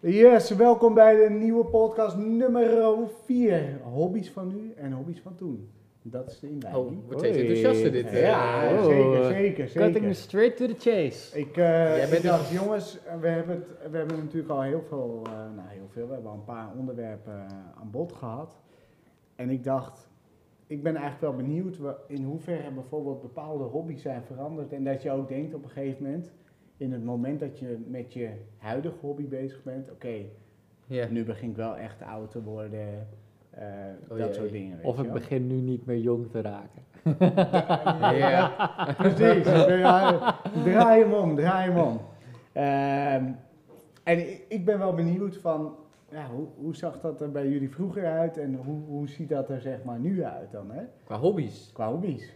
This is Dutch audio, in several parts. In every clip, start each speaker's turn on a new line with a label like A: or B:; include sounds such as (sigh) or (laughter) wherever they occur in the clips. A: Yes, welkom bij de nieuwe podcast nummer 4. Hobby's van nu en hobby's van toen. Dat is de inleiding.
B: Oh, wordt steeds enthousiaster dit. eh.
A: ja,
C: oh.
A: zeker, zeker,
C: Cutting
A: zeker.
C: straight to the chase.
A: Ik, eh,
B: Jij bent
A: ik dacht, jongens, we hebben, het, we hebben natuurlijk al heel veel, eh, nou heel veel, we hebben al een paar onderwerpen eh, aan bod gehad. En ik dacht, ik ben eigenlijk wel benieuwd wa- in hoeverre bijvoorbeeld bepaalde hobby's zijn veranderd. En dat je ook denkt op een gegeven moment, in het moment dat je met je huidige hobby bezig bent, oké,
B: Ja.
A: nu begin ik wel echt oud te worden. eh, dat
B: Oh, jee.
A: soort dingen. weet
C: Of
A: je
C: ik
A: wel. (laughs)
C: begin nu niet meer jong te raken.
B: Ja.
A: Precies, draai, draai hem om, draai hem om. Ehm, en i- ik ben wel benieuwd van, ja, hoe, hoe zag dat er bij jullie vroeger uit en hoe, hoe ziet dat er zeg maar nu uit dan, hè?
B: (laughs) Qua hobby's.
A: Qua hobby's.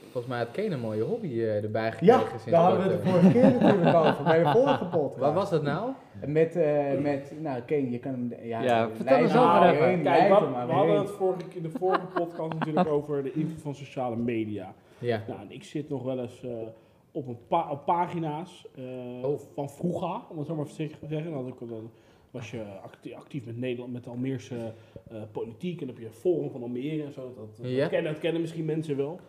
B: Volgens mij had Kane een mooie hobby eh, erbij gekregen
A: Ja,
B: sinds
A: daar hadden we
B: kort,
A: het de
B: eh.
A: vorige keer natuurlijk over, bij de vorige podcast.
B: Wat was dat nou?
A: Met, eh, met, nou Ken, je kan hem, ja,
C: Ja,
A: eh,
C: vertel
A: leid
C: eens
A: hem
C: over
A: maar
C: even.
A: heen,
D: Kijk,
A: leid
D: wat-
A: hem maar
D: we hadden
A: heen.
D: het vorige, in de vorige podcast natuurlijk over de invloed van sociale media.
B: Ja.
D: Nou, en ik zit nog wel eens eh, op, een pa- op pagina's eh,
B: Oh.
D: van vroeger, om het zo maar voorzichtig te zeggen. Dan, had ik- dan was je acti- actief met Nederland, met de Almeerse eh, politiek. En dan heb je een Forum van Almere en zo. Dat, dat,
B: Ja.
D: kennen, dat kennen misschien mensen wel.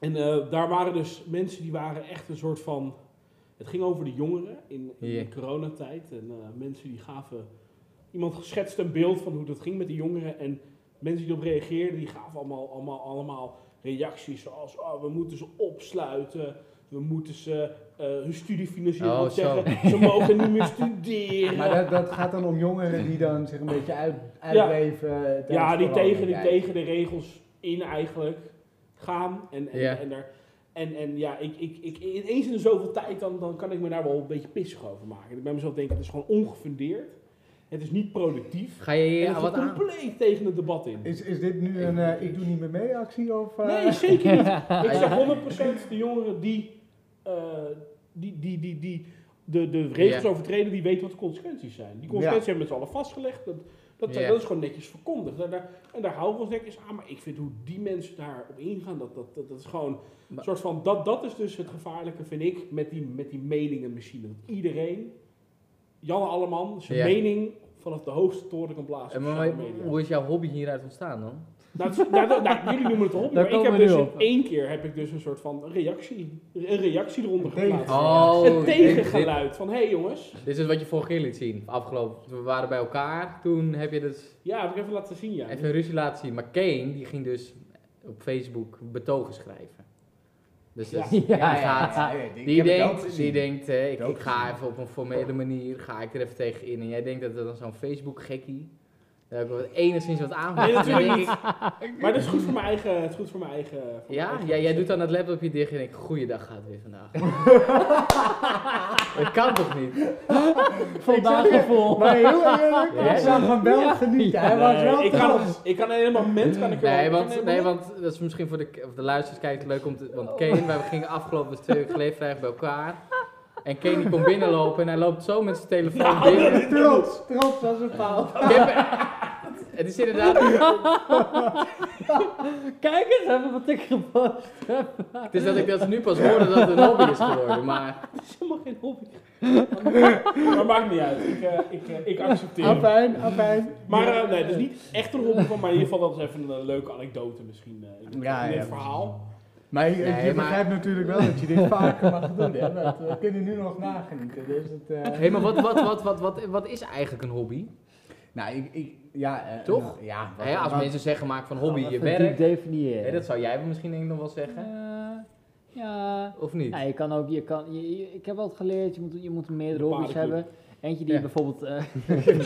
D: En eh, daar waren dus mensen die waren echt een soort van... Het ging over de jongeren in, in
B: Ja.
D: de coronatijd. En eh, mensen die gaven... Iemand geschetst een beeld van hoe dat ging met de jongeren. En mensen die erop reageerden, die gaven allemaal, allemaal, allemaal reacties zoals... Oh, we moeten ze opsluiten. We moeten ze eh, hun studie financieren.
B: Oh,
D: Want
B: zo.
D: zeggen, ze mogen niet meer
B: (laughs)
D: studeren.
A: Maar dat, dat gaat dan om jongeren die dan zich een beetje uit, uitleven. eh, tijdens
D: Ja, die
A: corona.
D: tegen, die tegen de regels in eigenlijk gaan. En, en,
B: Ja.
D: en, daar, en, en ja, ik, ik, ik, ineens in de zoveel tijd, dan, dan kan ik me daar wel een beetje pissig over maken. Ik bij mezelf denk, het is gewoon ongefundeerd. Het is niet productief.
B: Ga je
D: en
B: hier
D: het
B: wat
D: gaat
B: aan?
D: compleet tegen het debat in.
A: Is, is dit nu een eh, ik doe niet meer mee actie? Of, eh?
D: Nee,
B: (laughs)
D: zeker niet. Ik zeg 100% de jongeren die, eh, die, die, die, die de, de regels
B: Ja.
D: overtreden, die weten wat de consequenties zijn. Die consequenties hebben we met z'n allen vastgelegd. Dat, dat, zijn-
B: Ja.
D: dat is gewoon netjes verkondigd. Daar, daar- en daar houden we ons netjes aan. Maar ik vind hoe die mensen daarop ingaan, dat, dat, dat, dat is gewoon een
B: Maar-
D: soort van... Dat, dat is dus het gevaarlijke, vind ik, met die, met die meningenmachine. Dat iedereen, Jan Alleman, zijn
B: Ja.
D: mening vanaf de hoogste toren kan blazen.
B: En
D: op
B: Eh, maar-
D: sociale
B: maar
D: media.
B: hoe is jouw hobby hieruit ontstaan dan?
D: Nou, het is- nou, dat- nou, jullie noemen het een hobby,
C: Daar
D: maar ik heb
C: komen we
D: dus
C: nu
D: in
C: op.
D: één keer heb ik dus een soort van reactie, een reactie eronder
A: Tegen.
D: geplaatst.
B: Oh,
D: het
B: dit,
D: tegengeluid van, hé hey jongens,
B: dit is wat je vorige keer liet zien. Afgelopen, we waren bij elkaar. Toen heb je dus
D: ja, heb ik even laten zien, ja.
B: even ruzie laten zien. Maar Kane, die ging dus op Facebook betogen schrijven. Dus dat (laughs)
C: Ja,
B: die
A: Ah,
B: gaat-
A: ik
B: Die
A: heb het wel
B: denkt,
A: gezien.
B: die denkt hè, ik,
A: Wel
B: ik ga
A: gezien.
B: even op een formele manier, ga ik er even tegen in. En jij denkt dat dat dan zo'n Facebook-gekkie, daar heb ik wat, enigszins wat aan.
D: Nee, natuurlijk
B: Dan denk
D: niet.
B: ik,
D: Maar dat is goed voor mijn eigen, het is goed voor mijn eigen... voor mijn
B: Ja,
D: eigen
B: jij, jij
D: gezicht.
B: doet dan het laptopje dicht en denkt, goeiedag gaat het weer
A: (laughs)
B: vandaag. dat kan toch niet?
C: Vandaag
A: zeg je-
C: gevoel.
A: Maar heel eerlijk,
B: Ja.
A: ik zag hem wel
C: Ja.
A: genieten. Hij was
D: Nee,
A: wel
D: ik, kan,
A: trots.
D: ik kan in een moment, kan ik er wel-
B: Nee,
D: ik kan
B: want,
D: in
B: nee,
D: een moment-
B: want dat is misschien voor de, of de luisteraars kijkt leuk om te...
A: Oh.
B: Want Kane, wij gingen afgelopen dus twee weken geleden vrijdag bij elkaar. En Kane die komt binnenlopen en hij loopt zo met zijn telefoon
A: (laughs)
B: binnen.
A: Trots, trots als een paal.
B: Ik heb- Het is inderdaad...
C: Kijk eens even wat ik gepost heb.
B: Het is dat ik dat nu pas hoorde dat het een hobby is geworden, maar...
D: (laughs) Het is helemaal geen hobby. maar maakt niet uit, ik, eh, ik, eh, ik accepteer het.
A: Afijn, afijn.
D: Maar eh, nee, dus niet echt een hobby van, maar in ieder geval dat is even een leuke anekdote misschien. eh, in dit-
A: Ja,
D: in dit
A: ja.
D: verhaal.
A: Maar je, je
B: Nee, maar-
A: begrijpt natuurlijk wel dat je dit vaker mag doen. Hè? want we kunnen nu nog nagenieten. Dus het, eh,
B: Hé, maar wat, wat, wat, wat, wat, wat is eigenlijk een hobby?
A: Nou, ik... ik ja, eh,
B: Toch?
A: nou, ja, wat-
B: Hè, als
A: wat-
B: mensen zeggen, maak van hobby je
C: Even
B: werk.
C: diep definiëren.
B: Hè, dat zou jij misschien denk ik nog wel zeggen,
C: Eh, ja.
B: of niet?
C: Ja, je kan ook, je kan, je, je- ik heb wel geleerd, je moet, je moet meerdere
D: Bepaalde
C: hobby's
D: club.
C: hebben. Eentje die
B: Ja.
C: je bijvoorbeeld...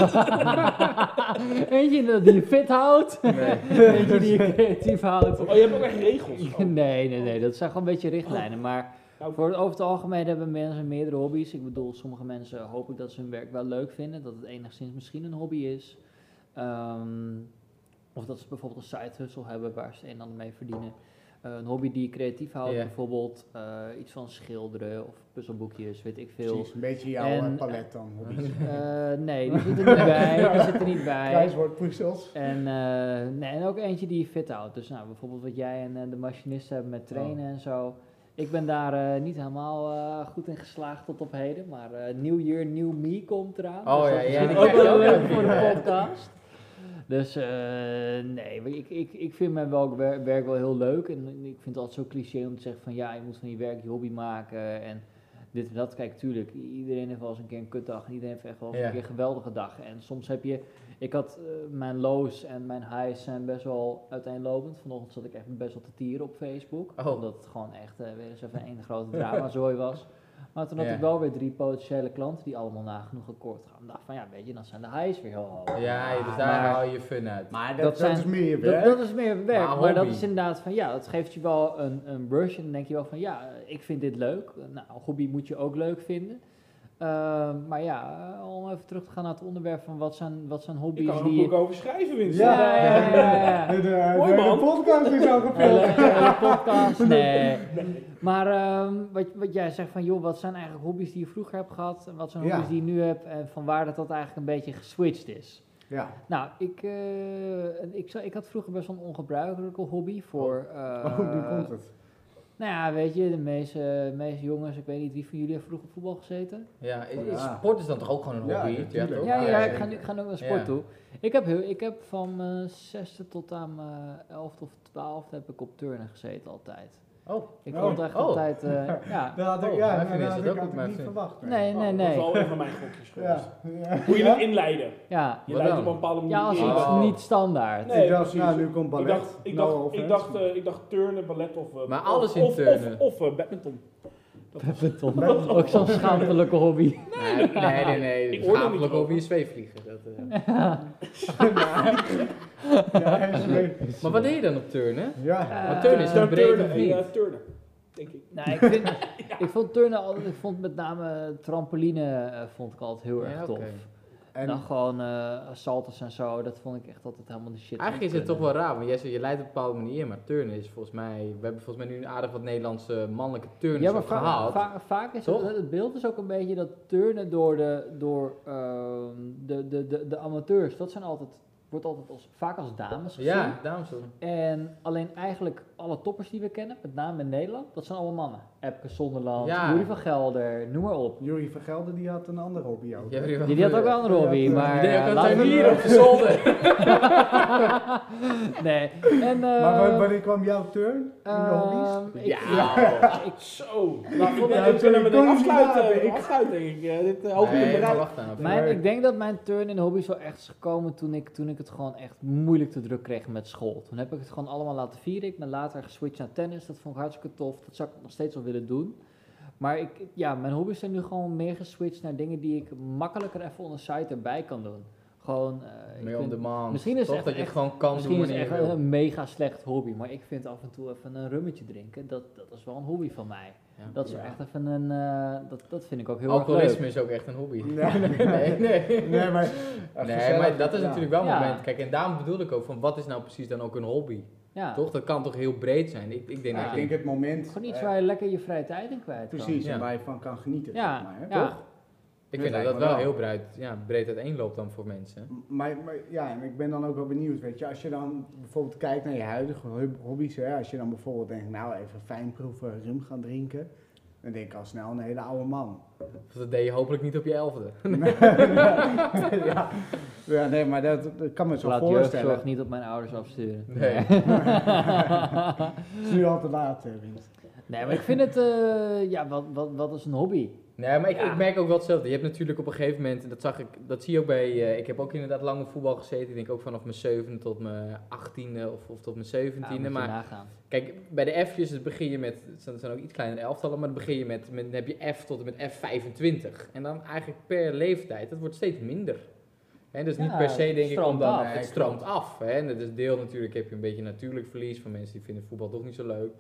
C: eh, (laughs) Eentje die je fit houdt. Eentje die je creatief houdt.
D: Oh, je hebt ook echt regels. Oh.
C: (laughs) Nee, nee, nee, dat zijn gewoon een beetje richtlijnen. Maar
D: Nou,
C: voor, over het algemeen hebben mensen meerdere hobby's. Ik bedoel, sommige mensen hoop ik dat ze hun werk wel leuk vinden. Dat het enigszins misschien een hobby is. Ehm, of dat ze bijvoorbeeld een side hustle hebben waar ze een en ander mee verdienen. Eh, een hobby die je creatief houdt,
B: Ja.
C: bijvoorbeeld eh, iets van schilderen of puzzelboekjes, weet ik veel.
A: Precies, een beetje jouw eh,
C: En-
A: palet dan. hobby's.
C: Eh, nee, die zit er niet bij. Die zit er niet bij.
A: Kruiswoordpuzzels.
C: En,
B: Oh.
C: eh, nee, en ook eentje die je fit houdt. Dus nou, bijvoorbeeld wat jij en eh, de machinisten hebben met trainen en zo. Ik ben daar eh, niet helemaal eh, goed in geslaagd tot op heden, maar eh New Year, New Me komt eraan. Dus
B: Oh ja,
C: dat is
B: ja,
C: natuurlijk
B: die
C: ook
B: krijg je
C: wel
B: ook nog
C: leuk voor
B: weer, (laughs)
C: de
B: hè?
C: podcast. Dus eh, nee, maar ik, ik, ik vind mijn wel- wer- werk wel heel leuk en ik vind het altijd zo cliché om te zeggen van ja, je moet van je werk je hobby maken en dit en dat. Kijk, tuurlijk, iedereen heeft wel eens een keer een kutdag en iedereen heeft echt wel eens
B: Ja.
C: een keer een geweldige dag. En soms heb je, ik had eh, mijn lows en mijn highs zijn best wel uiteenlopend. Vanochtend zat ik echt best wel te tieren op Facebook,
B: Oh.
C: omdat het gewoon echt eh, weer eens even één
B: (laughs)
C: grote dramazooi was. Maar toen had
B: Ja.
C: ik wel weer drie potentiële klanten die allemaal nagenoeg akkoord gaan. Ik dacht van ja, weet je, dan zijn de highs weer heel hoog.
B: Ja, dus
C: Ah, Maar-
B: daar haal je fun uit.
A: Maar dat,
C: dat zijn-
A: is meer je
C: dat,
A: werk.
C: dat is meer werk,
B: Maar
C: maar,
B: hobby.
C: dat is inderdaad van ja, dat geeft je wel een, een rush en dan denk je wel van ja, eh, ik vind dit leuk. Nou, hobby moet je ook leuk vinden. Ehm, maar ja, om even terug te gaan naar het onderwerp van wat zijn, wat zijn
D: Ik
C: hobby's
D: kan er een
C: die je...
D: boek over schrijven, Winston.
A: Ja.
C: ja, ja, ja, ja.
A: De, de,
D: Mooi,
A: de
D: man.
A: podcast is al
C: Hele,
A: gevuld.
C: hele
A: (laughs)
C: podcast, nee.
D: Nee.
C: Maar ehm, wat, wat jij zegt van, joh, wat zijn eigenlijk hobby's die je vroeger hebt gehad en wat zijn
A: Ja.
C: hobby's die je nu hebt en van waar dat dat eigenlijk een beetje geswitcht is.
A: Ja.
C: Nou, ik, eh, ik, zou- ik had vroeger best wel een ongebruikelijke hobby voor... eh,
A: Oh, nu komt het.
C: Nou ja, weet je, de meeste, de meeste jongens, ik weet niet wie van jullie heeft vroeger op voetbal gezeten.
B: Ja, i- i-
A: Ja.
B: sport is dan toch ook gewoon een
A: Ja,
B: hobby?
A: natuurlijk.
B: toch?
C: ja, ja,
A: Oh, ja,
C: ik, ga
A: zeker.
C: nu, ik ga nu ook naar sport
B: Ja.
C: toe. Ik heb, heel, ik heb van mijn zesde tot aan mijn elfde of twaalfde heb ik op turnen gezeten altijd.
B: Oh,
C: Ik
A: Oh.
C: vond het echt
B: Oh. (laughs)
C: altijd, eh, ja.
A: Dat had ik,
B: Oh,
A: ja,
B: mijn
A: nou,
B: vriendin
A: dat had
B: zit
A: ik
B: ook op
A: had ik
B: mijn
A: niet
B: vriend.
A: verwacht.
C: Nee, nee,
D: Dat is
C: nee.
D: wel een van mijn gokjes geweest.
A: Ja. ja.
D: Hoe je het inleiden.
C: Ja,
D: Je
B: Wat
D: leidt
B: dan?
D: op een bepaalde manier
C: ja als
D: in.
C: iets
B: Oh.
C: niet
B: (laughs)
C: standaard.
D: Nee,
A: ik dacht,
D: precies.
A: nou, nu komt ballet. Nou,
D: Ik dacht, ik
A: No
D: dacht,
A: offense.
D: ik
A: (laughs)
D: dacht, eh, ik dacht turnen, ballet of... eh,
B: Maar
D: of-
B: alles in
D: of- of-
B: turnen.
D: Of, eh, badminton.
C: Badminton.
A: Badminton.
C: Ook zo'n schaamtelijke hobby.
B: Nee, nee, nee. nee, nee.
D: Ik hoor er niet
B: Schaamtelijk
D: over.
B: over je zweefvliegen. Dat, eh.
D: (laughs)
A: ja, en ze weet-
B: Maar wat deed je dan op turnen?
A: Ja.
B: Maar turnen is
C: Eh,
B: dan breed
D: turnen,
B: of
D: en,
B: niet?
D: eh, turnen, denk ik.
C: Nou, ik,
B: (laughs)
C: vind, ik vond turnen altijd, ik vond met name trampoline eh, vond ik altijd heel erg
B: Ja,
C: tof.
B: oké.
A: En
C: dan gewoon eh salters en zo, dat vond ik echt altijd helemaal de shit.
B: Eigenlijk is het toch
C: Turnen.
B: wel raar, want jij zegt je leidt op een bepaalde manier, in, maar turnen is volgens mij... We hebben volgens mij nu aardig wat Nederlandse mannelijke turners
C: Ja, maar
B: ook
C: va-
B: gehaald.
C: va- vaak is
B: Toch?
C: het, het beeld is ook een beetje dat turnen door de, door, ehm, de, de, de, de amateurs, dat zijn altijd, wordt altijd als, vaak als dames gezien.
B: ja, dames en heren.
C: En alleen eigenlijk alle toppers die we kennen, met name in Nederland, dat zijn allemaal mannen. Epke Sonderland,
B: Ja.
C: Jury van Gelder, noem maar op.
A: Jurie van Gelder die had een andere hobby ook.
B: Jij hebt
A: hè?
B: hier wel
C: Die, die had ook
B: kleur.
C: wel een hobby,
A: Die had, eh,
C: maar...
B: Die deed
C: eh,
B: ook een
C: laten we-
B: tuinier op de
C: (laughs)
B: zolder.
C: nee. En,
A: Maar wa-
C: eh,
A: wanneer kwam jouw turn in de hobby's?
C: ehm, ik-
A: (laughs)
B: Ja.
C: ik-
D: Zo.
C: Maar
D: Ik ben
C: voor-
D: ik ben hem meteen
A: turnen-
D: afsluiten.
A: ja,
D: Ik
A: ik-
D: afsluit, denk ik. Eh, Dit eh, hoog in
B: Nee,
D: de
B: maar
D: bereik.
B: wacht nou.
C: mijn,
A: Nee.
C: ik denk dat mijn turn in hobby's wel echt is gekomen toen ik, toen ik het gewoon echt moeilijk te druk kreeg met school. Toen heb ik het gewoon allemaal laten vieren. Ik ben later geswitcht naar tennis. Dat vond ik hartstikke tof. Dat zou ik nog steeds wel willen doen. Maar ik, ja, mijn hobby's zijn nu gewoon meer geswitcht naar dingen die ik makkelijker even on the site erbij kan doen. Gewoon, eh, ik
B: Meer on
C: vind-
B: demand.
C: Misschien is
B: Toch
C: echt-
B: dat je het
C: echt-
B: gewoon kan
C: misschien
B: doen
C: is het
B: wanneer
C: echt
B: je wil.
C: een mega slecht hobby. Maar ik vind af en toe even een rummetje drinken, dat, dat is wel een hobby van mij.
B: Ja.
C: Dat is
A: Ja.
C: echt even een, eh, dat, dat vind ik ook heel erg
B: Alcoholisme
C: leuk.
B: is ook echt een hobby.
A: Nee, nee,
B: (laughs) Nee, nee.
A: nee, maar,
B: Nee, maar dat is natuurlijk wel een
C: Ja.
B: moment. Kijk, en daarom bedoel ik ook van wat is nou precies dan ook een hobby?
C: Ja.
B: Toch? Dat kan toch heel breed zijn? Ik, ik denk
C: Ja.
B: dat
A: Ik
B: je...
A: denk het moment.
C: Gewoon iets
A: eh,
C: waar je lekker je vrije tijd in kwijt kan.
A: Precies,
B: Ja.
A: en waar je van kan genieten.
C: Ja,
A: zeg maar, hè,
C: ja.
A: toch?
B: Ik
A: Dat
B: vind dat
A: lijkt
B: dat
A: me
B: wel
A: wel.
B: heel breed, ja, breed uiteenloopt dan voor mensen.
A: Maar, maar ja, en ik ben dan ook wel benieuwd, weet je, als je dan bijvoorbeeld kijkt naar je huidige hub- hobby's, hè, als je dan bijvoorbeeld denkt, nou even fijnproeven rum gaan drinken, dan denk ik al snel een hele oude man. (laughs)
B: Of dat deed je hopelijk niet op je elfde.
A: ja. ja, nee, maar dat, dat kan me zo
C: Laat
A: voorstellen.
C: jeugdzorg niet op mijn ouders afsturen.
B: Nee.
A: (laughs) Het is nu al te laat, eh, hè, Winst.
C: nee, maar ik vind het, eh, ja, wat, wat, wat is een hobby?
B: Nee, maar ik,
C: Ja.
B: ik merk ook wel hetzelfde. Je hebt natuurlijk op een gegeven moment, en dat zag ik, dat zie je ook bij, eh, ik heb ook inderdaad lang op voetbal gezeten. Ik denk ook vanaf mijn zevende tot mijn achttiende of, of tot mijn
C: Ja, Ah, moet
B: zeventiende.
C: je
B: maar
C: nagaan.
B: Kijk, bij de F'jes dus begin je met, het zijn- het zijn ook iets kleinere elftallen, maar dan begin je met, met dan heb je F tot en met F25. En dan eigenlijk per leeftijd, dat wordt steeds minder. En dus niet
C: Ja,
B: per se
C: het
B: denk ik,
C: stroomt
B: omdat
C: af.
B: het
A: Nee,
B: stroomt af. Hè? En dat is deel natuurlijk, heb je een beetje natuurlijk verlies van mensen die vinden voetbal toch niet zo leuk.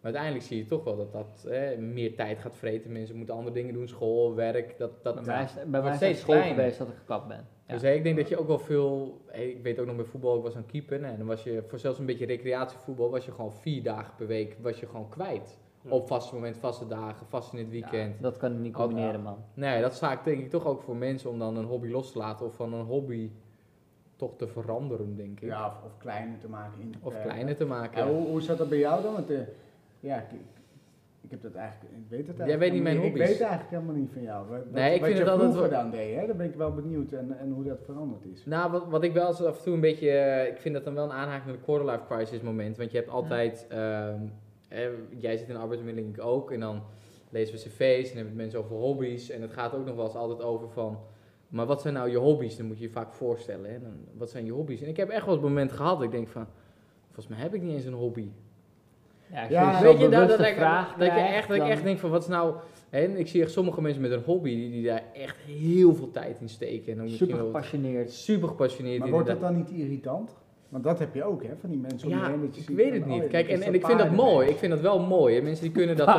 B: Maar uiteindelijk zie je toch wel dat dat hè, meer tijd gaat vreten. Mensen moeten andere dingen doen, school, werk. Dat, dat,
C: bij mij is, bij mij
B: wordt
C: is het
B: steeds
C: school
B: kleiner.
C: geweest dat ik gekapt ben. Ja.
B: dus hè, ik denk dat je ook wel veel. hè, Ik weet ook nog bij voetbal, ik was aan keeper. En dan was je voor zelfs een beetje recreatievoetbal, was je gewoon vier dagen per week was je gewoon kwijt.
D: Ja.
B: Op vaste moment, vaste dagen, vast in het weekend.
C: Ja, dat kan ik niet
B: Ook, ja.
C: combineren, man.
B: Nee, dat is vaak denk ik toch ook voor mensen om dan een hobby los te laten of van een hobby toch te veranderen, denk ik.
A: Ja, of, of kleiner te maken. In te
B: Of
A: perken.
B: kleiner te maken.
A: Ja, hoe, hoe zat dat bij jou dan? Want, eh, ja, ik, ik- Ik heb dat eigenlijk, ik weet het
B: Jij
A: eigenlijk.
B: weet niet mijn
A: helemaal Ik
B: hobby's.
A: weet eigenlijk helemaal niet van jou. Wat,
B: Nee, ik
A: wat
B: vind
A: je
B: het altijd
A: vroeger
B: wel-
A: dan deed, hè? Daar ben ik wel benieuwd en, en hoe dat veranderd is.
B: Nou, wat, wat ik wel eens af en toe een beetje. eh, ik vind dat dan wel een aanhaking naar de quarterlife crisis moment. Want je hebt altijd. ehm, eh, jij zit in de arbeidsmiddeling, ik ook. En dan lezen we cv's en hebben het mensen over hobby's. En het gaat ook nog wel eens altijd over van. Maar wat zijn nou je hobby's? Dan moet je je vaak voorstellen. Hè? Dan, wat zijn je hobby's? En ik heb echt wel eens het moment gehad. dat Ik denk van. Volgens mij heb ik niet eens een hobby.
C: Ja, als
A: Ja,
C: je
B: Weet
C: zo'n
B: je, dat, dat,
C: bewuste
B: ik,
C: vraag
B: dat je
C: krijgt,
B: echt, dat ik
C: dan-
B: echt denk van wat is nou. hè, En ik zie echt sommige mensen met een hobby die, die daar echt heel veel tijd in steken. En dan misschien
C: Super
B: wel-
C: gepassioneerd.
B: super gepassioneerd.
A: Maar
B: in
A: wordt dat dan niet irritant? Want dat heb je ook, hè? Van die mensen om je
B: Ja,
A: heen dat je
B: ik
A: ziet
B: weet
A: van,
B: het
A: oh,
B: niet.
A: dit
B: Kijk,
A: is
B: en,
A: dat
B: en ik vind dat
A: paardenmens.
B: mooi. Ik vind dat wel mooi. Hè. Mensen die kunnen (laughs) dat
C: (laughs)
B: dan...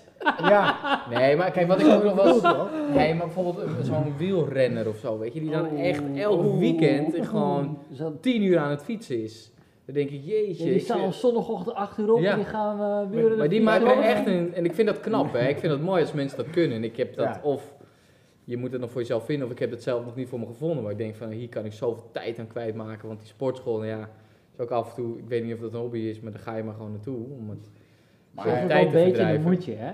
A: (laughs) Ja,
B: Nee, maar kijk, wat ik ook nog wel...
A: goed hoor.
B: (laughs) Nee, maar bijvoorbeeld eh, zo'n wielrenner of zo, weet je. Die dan
C: Oeh,
B: echt elk
C: oeh,
B: weekend
C: oeh.
B: gewoon
C: Zo-
B: tien uur aan het fietsen is. Dan denk ik,
C: Oh. Ja,
B: jeetje.
C: die
B: ik
C: staan
B: vind-
C: op zondagochtend 8 uur op
B: Ja.
C: en die gaan we buren
B: Maar die maken er echt een... En ik vind dat knap, hè. Ik vind dat mooi als mensen dat kunnen. En ik heb dat
A: Ja.
B: of... Je moet het nog voor jezelf vinden, of ik heb het zelf nog niet voor me gevonden. Maar ik denk van, hier kan ik zoveel tijd aan kwijtmaken. Want die sportschool, nou ja, is ook af en toe... Ik weet niet of dat een hobby is, maar daar ga je maar gewoon naartoe. Om het
A: Maar
B: Zo'n
A: je
C: een
B: tijd
C: beetje,
B: te verdrijven. Oh.
C: dan moet je, hè?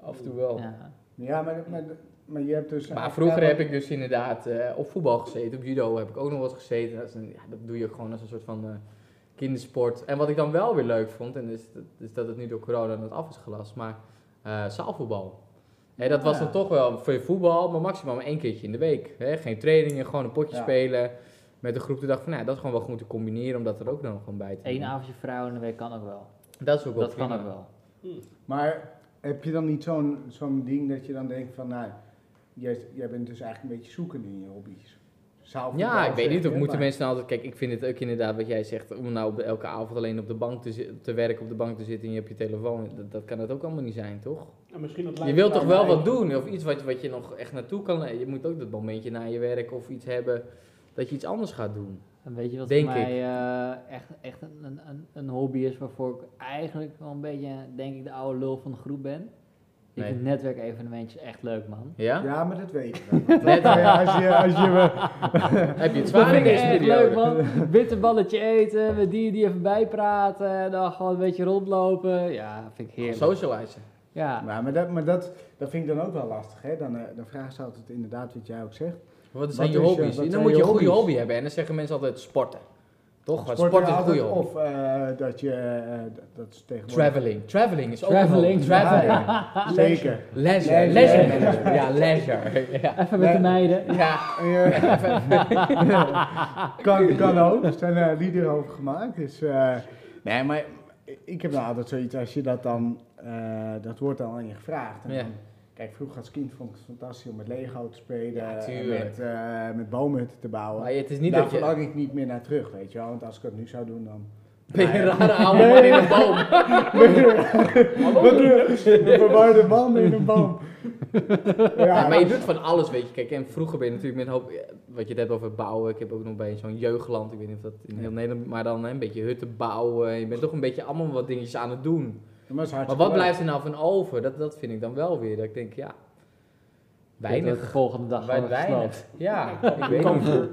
B: Af en toe wel.
C: Ja.
A: Ja, maar, maar, maar je hebt dus...
B: Maar vroeger heb ik dus inderdaad eh, op voetbal gezeten, op judo heb ik ook nog wat gezeten. Dat, is een- ja, dat doe je gewoon als een soort van eh, kindersport. En wat ik dan wel weer leuk vond, en is, dat- is dat het nu door corona aan het af is gelast, maar eh, zaalvoetbal. Hè, dat was
A: Ja.
B: dan toch wel voor je voetbal, maar maximaal maar één keertje in de week. Hè? Geen trainingen, gewoon een potje
A: Ja.
B: spelen. Met een groep de dag van, nou, dat is gewoon wel goed te combineren om dat er ook dan gewoon bij te doen.
C: Eén avondje vrouw in de week kan ook wel.
B: Dat is ook wel
C: Dat kan
B: prima.
C: ook wel.
A: Maar heb je dan niet zo'n zo'n ding dat je dan denkt van, nou, jij, jij bent dus eigenlijk een beetje zoeken in je hobby's? Zaalvoetbal
B: Ja, ik weet
A: zeg
B: niet. Of
A: je,
B: moeten
A: maar-
B: mensen nou altijd. Kijk, ik vind het ook inderdaad wat jij zegt. Om nou op de- elke avond alleen op de bank te, zi- te werken, op de bank te zitten en je hebt je telefoon. Dat, dat kan het ook allemaal niet zijn, toch?
D: En misschien dat
B: Je
D: lijkt
B: wilt
D: het
B: toch
D: aan
B: wel
D: mij.
B: wat doen? Of iets wat, wat je nog echt naartoe kan. eh, Je moet ook dat momentje na je werk of iets hebben dat je iets anders gaat doen.
C: En weet je wat
B: Denk
C: voor mij eh, echt, echt een, een- een, een hobby is waarvoor ik eigenlijk wel een beetje, denk ik, de oude lul van de groep ben? Ik
B: Nee.
C: vind netwerkevenementjes echt echt leuk, man.
B: Ja?
A: Ja, maar dat weet je wel.
B: Net-
A: Ja, als je, als je wel-
B: (laughs) Heb je het
C: Dat
B: zwaar in
C: vind ik
B: deze
C: echt
B: periode?
C: leuk,
B: (laughs)
C: man. Witte balletje eten, met die die even bijpraten, dan gewoon een beetje rondlopen. Ja, vind ik heerlijk.
B: Socializen.
C: Ja.
A: Maar, maar, dat, maar dat, dat vind ik dan ook wel lastig. Hè? Dan, eh, dan vragen ze altijd inderdaad wat jij ook zegt.
B: Wat zijn
A: Wat
B: je
A: is je-
B: hobby's?
A: wat
B: En dan
A: zijn
B: moet je
A: je
B: een goede
A: hobby's?
B: hobby hebben. En dan zeggen mensen altijd sporten. Toch? Want
A: Sporten
B: Sport is een
A: altijd
B: goede hobby.
A: Of eh, dat je, eh, dat- dat is tegenwoordig...
B: Traveling. Traveling is ook een
C: Traveling.
B: hobby. Traveling.
A: Ja, ja. Zeker.
B: Leisure.
A: Leisure.
B: Leisure management. Ja, leisure. Ja.
C: Even met de
A: Nee.
C: meiden.
B: Ja,
A: En, eh, (laughs) kan, kan ook. Er zijn eh, liederen over gemaakt. Dus, eh, nee, maar ik heb nou altijd zoiets als je dat dan... eh, dat wordt dan aan je gevraagd. En
B: Ja.
A: dan- kijk, vroeger als kind vond ik het fantastisch om met Lego te spelen.
B: Ja,
A: en
B: tuurlijk.
A: met, eh, met boomhutten te bouwen.
B: maar het is niet
A: Daar
B: dat je...
A: verlang ik niet meer naar terug, weet je wel. Want als ik dat nu zou doen, dan...
B: (laughs) Ben je een rare oude man in een boom?
D: Oh,
A: (laughs) Een verwarde man in een boom.
B: Ja,
A: Ja,
B: maar je doet van alles, weet je. Kijk, en vroeger ben je natuurlijk met een hoop... eh, Wat je het hebt over bouwen. Ik heb ook nog bij zo'n jeugdland. Ik weet niet of dat in heel Nederland... Maar dan hè, een beetje hutten bouwen. Je bent toch een beetje allemaal wat dingetjes aan het doen.
A: maar, is hartstikke
B: Maar wat
A: leuk.
B: blijft er nou van over? Dat, dat vind ik dan wel weer. Dat ik denk, ja...
C: Dat
B: Weinig.
C: de volgende dag gewoon
B: Weinig. (laughs)
C: gesloopt.
B: Ja, ik weet
D: Kan
B: niet.
D: voor-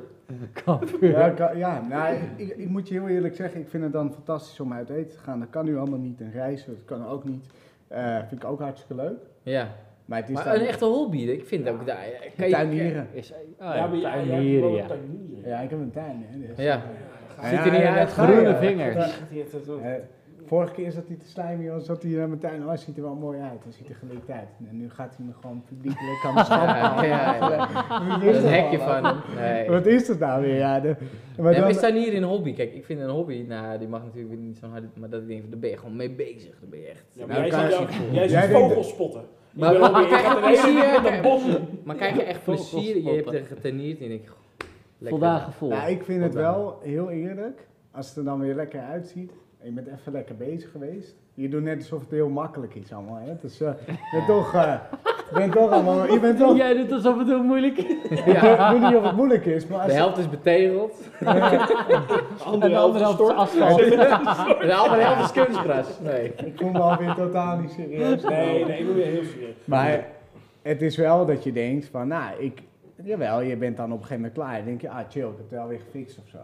C: Kampvuur.
A: Ja, ik kan- ja nou, ik, ik moet je heel eerlijk zeggen, ik vind het dan fantastisch om uit eten te gaan. Dat kan nu allemaal niet en reizen, dat kan ook niet. Eh, vind ik ook hartstikke leuk.
B: Ja.
A: Maar het is
B: Maar
A: dan
B: een echte hobby. Ik vind ook... daar- Kan je,
A: tuinieren.
C: Is, oh,
D: Ja, maar jij- jij hebt
C: tuinieren,
D: wel
C: ja.
D: een tuinier.
A: Ja, ik heb een tuin. Hè, dus.
B: Ja.
A: Ja,
B: Ziet er niet
A: ja,
B: uit.
A: dat ga je.
C: Groene vingers.
A: Eh, vorige keer zat hij te slijmen, joh, zat hij naar mijn tuin. Oh, hij ziet er wel mooi uit, hij ziet er gelikt uit. En nu gaat hij me gewoon publiekelijk
B: (laughs)
A: aan de schap
B: Ja, ja, ja.
A: Wat is
B: Dat
A: dat
B: hekje
A: allemaal?
B: van hem. Nee.
A: Wat is dat nou weer? Ja, de, maar
B: Nee, maar
A: dan-
B: is daar niet in een hobby? Kijk, ik vind een hobby, nou, die mag natuurlijk niet zo'n hard, maar dat ik denk, van, daar ben je gewoon mee bezig. Daar ben je echt.
D: Ja,
A: Nou,
D: maar jij
A: kan
D: zit
A: je
D: jou-
A: niet voor.
D: Jij
A: Jij
D: zit
A: denkt-
D: vogels spotten. Ik
B: Maar-
D: ben
B: maar
D: ook weer-
B: kijk,
D: je gaat de
B: als
D: hele
B: je-
D: dag naar het bos.
B: Maar krijg je echt
C: Vogels
B: plezier? Je hebt
C: poppen.
B: er getenierd en ik denk, goh, lekker.
C: Voldaan gevoel.
A: Nou, ik vind
B: Wat
A: het
B: dan?
A: wel heel eerlijk, als het er dan weer lekker uitziet en je bent even lekker bezig geweest. Je doet net alsof het heel makkelijk is allemaal, hè? Dus eh, je bent toch, eh, je bent toch allemaal, je bent toch,
C: Jij doet alsof het heel moeilijk is.
A: ik
B: (laughs) Ja.
A: weet niet of het moeilijk is, maar
B: De
A: als,
B: helft is betegeld,
C: En de andere helft is asfalt.
B: en de andere helft is kunstgras. Nee.
A: ik voel me alweer totaal niet serieus.
D: Nee, nee, ik ben weer heel serieus.
A: Maar het is wel dat je denkt van, nou, ik, jawel, je bent dan op een gegeven moment klaar. Dan denk je, ah chill, ik heb het wel weer gefixt of zo.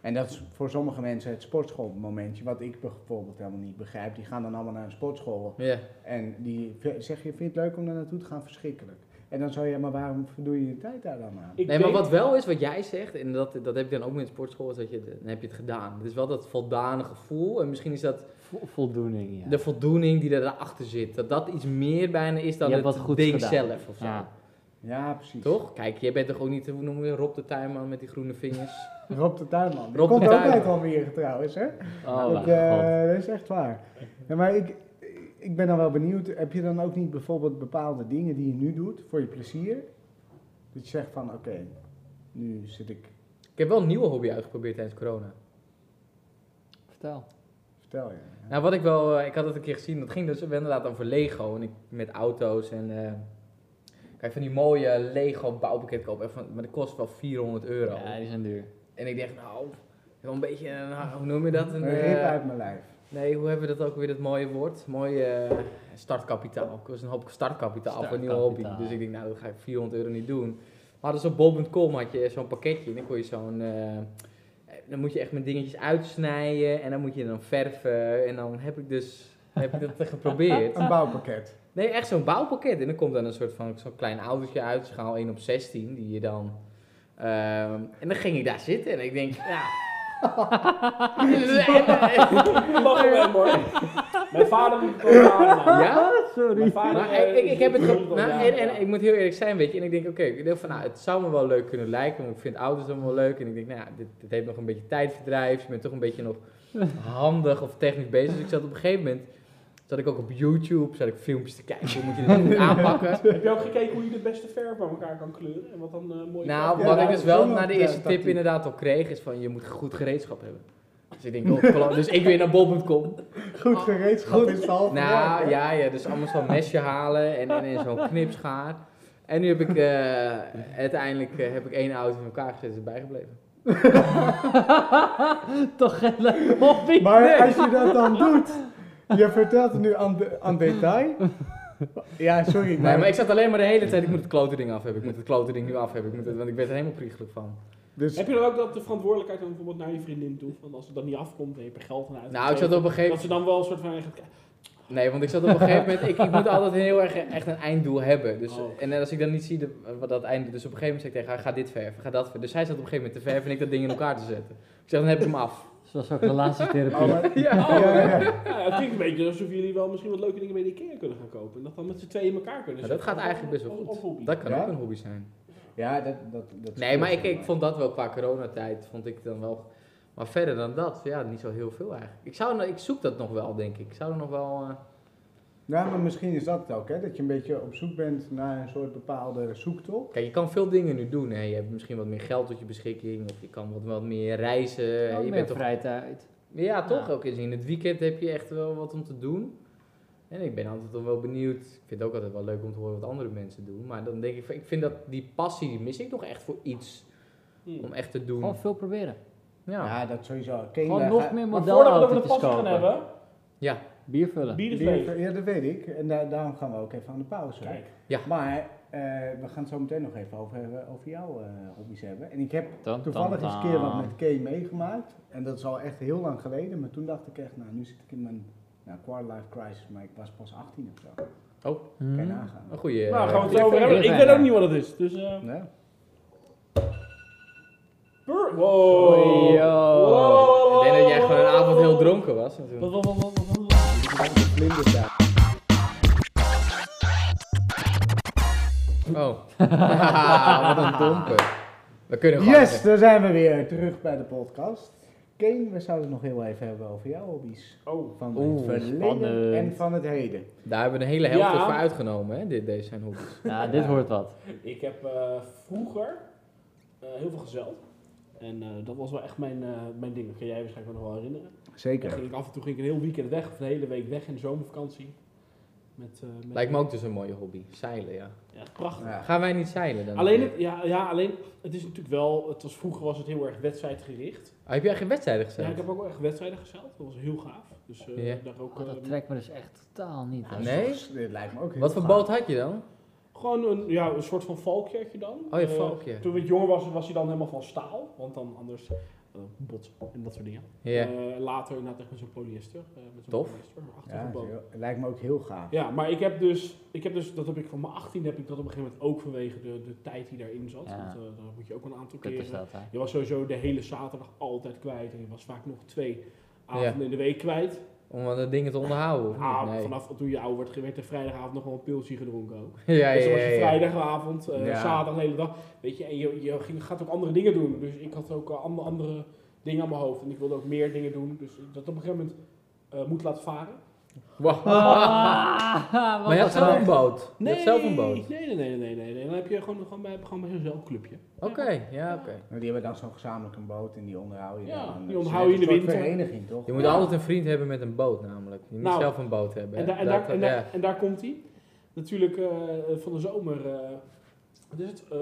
A: En dat is voor sommige mensen het sportschoolmomentje, wat ik bijvoorbeeld helemaal niet begrijp. Die gaan dan allemaal naar een sportschool
B: Ja,
A: en die v- zeg je, vind je het leuk om daar naartoe te gaan? Verschrikkelijk. En dan zou je, maar waarom verdoe je je tijd daar dan aan?
D: Ik
B: nee, maar
D: denk-
B: wat wel is, wat jij zegt, en dat, dat heb ik dan ook met sportschool, is dat je, dan heb je het gedaan. Het is wel dat voldane gevoel, en misschien is dat
C: Vo- voldoening, ja.
B: de voldoening die daarachter zit. Dat dat iets meer bijna is dan
C: Je
B: het
C: hebt wat goeds
B: ding
C: gedaan.
B: zelf of zo.
C: Ja.
A: Ja, precies.
B: Toch? Kijk, jij bent toch ook niet, hoe noemen we Rob de Tuinman met die groene vingers?
A: Rob de Tuinman. Die
B: Rob de
A: komt ook
B: Tuinman.
A: uit Almere trouwens, hè?
C: Oh,
A: dat,
C: mijn god.
A: eh, dat is echt waar. Ja, maar ik, ik ben dan wel benieuwd. Heb je dan ook niet bijvoorbeeld bepaalde dingen die je nu doet voor je plezier? Dat je zegt van, oké, nu zit ik...
B: ik heb wel een nieuwe hobby uitgeprobeerd tijdens corona.
C: Vertel.
A: Vertel je.
B: Nou, wat ik wel, eh, ik had het een keer gezien, dat ging dus inderdaad over Lego en ik, met auto's en eh kijk van die mooie Lego bouwpakket kopen, echt van- maar dat kost wel 400 euro.
C: Ja, die zijn duur.
B: En ik dacht, nou, wel een beetje, een, ah, hoe noem je dat? Een,
A: Een rip
B: eh,
A: uit mijn lijf.
B: nee, hoe hebben we dat ook weer, dat mooie woord? Mooi eh, startkapitaal. Het kost een hoop startkapitaal voor een nieuwe hobby.
C: Startkapitaal.
B: Dus ik denk, nou, dat ga ik 400 euro niet doen. Maar dus op bol.com had je zo'n pakketje en dan kon je zo'n... eh, dan moet je echt met dingetjes uitsnijden en dan moet je dan verven. En dan heb ik dus heb ik dat (laughs) geprobeerd.
A: Een bouwpakket.
B: Nee, echt zo'n bouwpakket. En dan komt dan een soort van zo'n klein autootje uit, schaal 1 op 16, die je dan. ehm, en dan ging ik daar zitten en ik denk, ja. (laughs)
D: Lachen we hem hoor. Mijn vader moet
B: (laughs)
D: het ook aan.
B: ja?
C: (laughs)
D: Mijn vader,
B: Maar
D: eh,
B: ik, ik, ik heb het.
D: doet
B: ge-
D: al
B: nou,
D: jaren,
B: en, en
D: ja.
B: ik moet heel eerlijk zijn, weet je. En ik denk, oké, ik denk van, nou, het zou me wel leuk kunnen lijken, want ik vind auto's allemaal leuk. En ik denk, nou, ja, dit, dit heeft nog een beetje tijdverdrijf. Je bent toch een beetje (laughs) nog handig of technisch bezig. Dus ik zat op een gegeven moment. Zat ik ook op YouTube, zat ik filmpjes te kijken. Hoe moet je dit (laughs) goed aanpakken?
D: Heb je ook gekeken hoe je de beste verf aan elkaar kan kleuren? En wat dan eh mooi
B: Nou,
A: Ja,
B: wat ik
A: nou,
B: dus wel
A: zo'n
B: na de
A: ja,
B: eerste tip
A: tactiek.
B: inderdaad al kreeg, is van je moet goed gereedschap hebben. Dus ik denk, oh, klap. dus ik weer naar bol.com.
A: Goed gereedschap
B: Ah. Goed.
A: is het half werk,
B: Nou
A: Oh, hè?
B: ja, ja, dus allemaal zo'n mesje halen en, en, en zo'n knipschaar. En nu heb ik eh, uiteindelijk eh, heb ik één auto in elkaar gezet, is erbij gebleven.
C: Toch geen leuke hobby.
A: Maar als je dat dan doet, je vertelt het nu aan, de, aan detail. Ja, sorry.
B: Nee, maar ik zat alleen maar de hele tijd, ik moet het klote ding af hebben, ik moet het klote ding nu af hebben, ik moet het, want ik werd er helemaal priegelijk van.
A: dus,
D: Heb je dan ook dat de verantwoordelijkheid dan bijvoorbeeld naar je vriendin toe? Van als het dan niet afkomt, dan heb je geld aan uit.
B: Nou, ik zat op een gegeven
D: Dat ze dan wel een soort van... eigen-
B: Nee, want ik zat op een gegeven moment, ik, ik moet altijd heel erg eh, echt een einddoel hebben. Dus,
D: Oh.
B: En als ik dan niet zie de- wat dat einde, dus op een gegeven moment zei ik tegen haar, ga dit verven, ga dat verven. Dus zij zat op een gegeven moment te verven en ik dat ding in elkaar te zetten. Ik zeg, dan heb ik hem af.
C: Zoals ook (laughs) relatietherapie.
A: Oh, maar-
B: Ja.
D: Oh,
A: Ja, ja,
D: Ja, het klinkt een beetje alsof jullie wel misschien wat leuke dingen bij de IKEA kunnen gaan kopen. En dat dan met z'n tweeën in elkaar kunnen
B: Maar dat
D: zetten.
B: gaat eigenlijk best
D: Als-
B: wel
D: als Dus hobby.
B: goed. Dat kan
A: Ja?
B: ook een hobby zijn.
A: ja, dat, dat, dat
B: Nee, maar ik, ik vond dat wel qua coronatijd, vond ik dan wel... Maar verder dan dat, ja, niet zo heel veel eigenlijk. Ik, zou, ik zoek dat nog wel, denk ik. Ik zou er nog wel... eh,
A: Nou, maar misschien is dat het ook, hè? Dat je een beetje op zoek bent naar een soort bepaalde zoektocht.
B: Kijk, je kan veel dingen nu doen. Hè. Je hebt misschien wat meer geld tot je beschikking. Of je kan wat, wat meer reizen. hè. Eh, je
C: Ook
B: bent
C: meer
B: toch
C: vrijheid uit.
B: Ja, toch
C: Ja.
B: ook eens. In het weekend heb je echt wel wat om te doen. En ik ben altijd al wel benieuwd. Ik vind het ook altijd wel leuk om te horen wat andere mensen doen. Maar dan denk ik, van, ik vind dat die passie die mis ik nog echt voor iets
D: Hmm.
B: om echt te doen.
C: Gewoon veel proberen.
B: ja.
A: Ja, dat sowieso. Ken je
C: Gewoon
A: daar-
C: nog
A: ga-
C: meer
D: Maar voordat we
C: modelauto's
D: over de
C: kopen.
D: passie gaan hebben,
C: Bier vullen.
D: bier is leeg.
A: die- Ja, dat weet ik. En daar- daarom gaan we ook even aan de pauze.
D: Kijk,
A: Maar eh, we gaan het zo meteen nog even over, hebben- over jouw eh, hobby's hebben. En ik heb
C: Dan,
A: toevallig eens een keer wat met Kay meegemaakt. En dat is al echt heel lang geleden. Maar toen dacht ik echt, nou, nu zit ik in mijn nou, quarter life crisis. Maar ik was pas 18 of zo. Kan
C: Mm.
A: je nagaan.
B: Oh, Een goede.
D: nou gaan we het
C: eh,
D: zo over
C: even
D: hebben. Ik weet ook
C: verder.
D: niet wat het is. Dus, eh
A: Nee?
D: bur- wow.
C: Oei, yo.
D: Wow, wow, wow,
B: Oh, Ik denk dat jij
D: wow,
B: gewoon een
D: wow,
B: avond
D: wow.
B: heel dronken was. en
D: (laughs) Wat,
B: toen-
D: wat, wat, wat, wat, wat.
A: Vlinders daar.
B: Oh. (laughs) Haha, wat een domper. We kunnen gewoon.
A: Yes, daar zijn we weer terug bij de podcast. Kane, we zouden het nog heel even hebben over jouw hobby's.
D: Oh.
A: Van
B: Oeh,
A: het verleden
C: spannend.
A: en van het heden.
B: Daar hebben we een hele helft
D: Ja.
B: voor uitgenomen, hè? Dit, deze zijn hobby's.
C: Ja, dit hoort wat.
D: Ik heb eh, vroeger eh, heel veel gezeld. En eh, dat was wel echt mijn, eh, mijn ding. Dat kan jij je waarschijnlijk nog wel herinneren. Dan
A: Zeker.
D: ging ik af en toe ging ik een heel weekend weg, of een hele week weg in de zomervakantie. Met, eh, met-
B: Lijkt me ook dus een mooie hobby. Zeilen, ja.
D: Ja, prachtig.
A: Ja.
B: Gaan wij niet zeilen dan?
D: Alleen, het, ja, ja, alleen, het is natuurlijk wel, het was, vroeger was het heel erg wedstrijdgericht.
B: Ah, heb jij geen wedstrijden gezegd?
D: Ja, ik heb ook wel echt wedstrijden gezeild, dat was heel gaaf. Dus eh,
B: Ja.
D: daar ook,
C: (laughs) Oh,
D: eh,
C: dat trekt me dus echt totaal niet. hè.
B: Ah, Nee?
A: Dit lijkt me ook heel
B: Wat voor
A: gaaf.
B: boot had je dan?
D: gewoon een, ja, een soort van valkje had je dan.
B: Oh, je
D: Eh,
B: valkje.
D: Toen ik jonger was, was hij dan helemaal van staal. Want dan anders eh, botsen en dat soort dingen.
B: Ja.
D: Eh, later inderdaad echt met zo'n polyester. eh, met zo'n
B: Tof.
D: polyester
A: Ja,
D: achtergebouwd.
A: is heel- lijkt me ook heel gaaf.
D: Ja, maar ik heb dus, ik heb dus dat heb ik van mijn 18 heb ik dat op een gegeven moment ook vanwege de, de tijd die daarin zat.
C: Ja.
D: Want eh daar moet je ook een aantal
C: Kut is
D: keren.
C: dat, hè?
D: Je was sowieso de hele zaterdag altijd kwijt en je was vaak nog twee avonden in de week kwijt.
B: Om dan de dingen te onderhouden. Of
D: Ah,
B: niet? Nee.
D: Vanaf toen je ouder werd, werd er vrijdagavond nog wel een pilsje gedronken ook.
B: (laughs) Ja,
D: dus dan
B: ja,
D: was je
B: ja, (laughs) ja.
D: vrijdagavond, eh,
B: Ja.
D: zaterdag de hele dag. Weet je, en je, je ging, gaat ook andere dingen doen. Dus ik had ook eh, andere, andere dingen aan mijn hoofd en ik wilde ook meer dingen doen. Dus ik dat op een gegeven moment eh, moet laten varen.
B: Wow.
C: Ah,
B: Maar je had
C: wat een
B: zelf een
C: ramp.
B: boot. Je had zelf een boot.
D: Nee, nee, nee, nee, nee, nee. Dan heb je gewoon, gewoon bij, gewoon bij zo'n zelfclubje.
B: Oké, ja, oké.
A: Maar die hebben dan zo'n gezamenlijk een boot en die onderhouden je
D: Ja,
A: dan.
D: die
A: Dat is
D: onderhouden
A: net
D: je in de
A: een soort
D: winter.
A: vereniging, toch?
B: Je moet
D: Ja.
B: altijd een vriend hebben met een boot namelijk. Je moet
D: Nou,
B: zelf een boot hebben.
D: En,
B: hè.
D: daar- en,
B: Dat-
D: daar,
B: ja.
D: en, daar, en daar komt hij. Natuurlijk eh, van de zomer. eh, wat is het? Eh,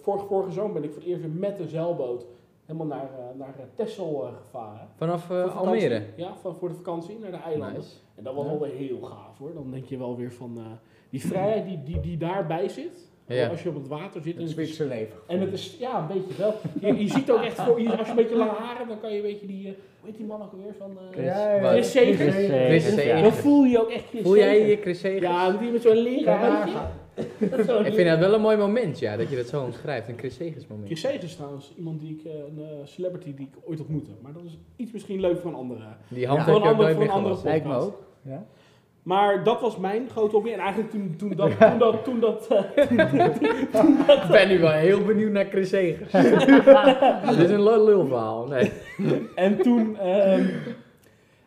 D: vorige, vorige zomer ben ik voor het eerst weer met een zeilboot helemaal naar, eh, naar eh, Texel eh, gevaren.
B: Vanaf eh,
D: Voor vakantie.
B: Almere.
D: Ja, van, voor de vakantie naar de eilanden.
B: Nice.
D: En dat was
B: Ja.
D: wel weer heel gaaf hoor. Dan denk je wel weer van eh, die vrijheid die, die, die daarbij zit.
B: Ja.
D: Als je op het water zit.
A: Het
D: en het is-
A: Zwitserse leven.
D: En het is, ja, een beetje wel. Je, je ziet ook echt, voor, je- als je een beetje lange haren hebt, dan kan je een beetje die, eh, hoe heet die man ook weer van... eh, Chris Segers.
C: Chris Segers,
B: Chris
C: ja.
B: Segers.
D: Dan voel je ook echt Chris
B: Voel jij
D: Segers.
B: je Chris Segers?
D: Ja, die met zo'n leren huidje. Zo'n
B: Ik vind dat wel een mooi moment, ja, dat je dat zo omschrijft. Een Chris Segers moment.
D: Chris Segers is trouwens iemand die ik, eh, een eh, celebrity die ik ooit ontmoette. Maar dat is iets misschien leuk voor een andere.
B: Die hand
A: Ja.
B: heb
D: Voor
B: je
D: een
B: ook nooit
D: andere-
B: meer
D: voor een andere
B: gelassen.
D: Lijkt me
A: ook.
D: podcast.
A: Ja.
D: Maar dat was mijn grote hobby. En eigenlijk toen, toen
B: (laughs)
D: dat, toen dat, toen dat, eh,
B: (laughs) Ik ben nu wel heel benieuwd naar Chris
D: (laughs)
B: Segers. Dit is een lul- lulverhaal. Nee.
D: en toen, ehm,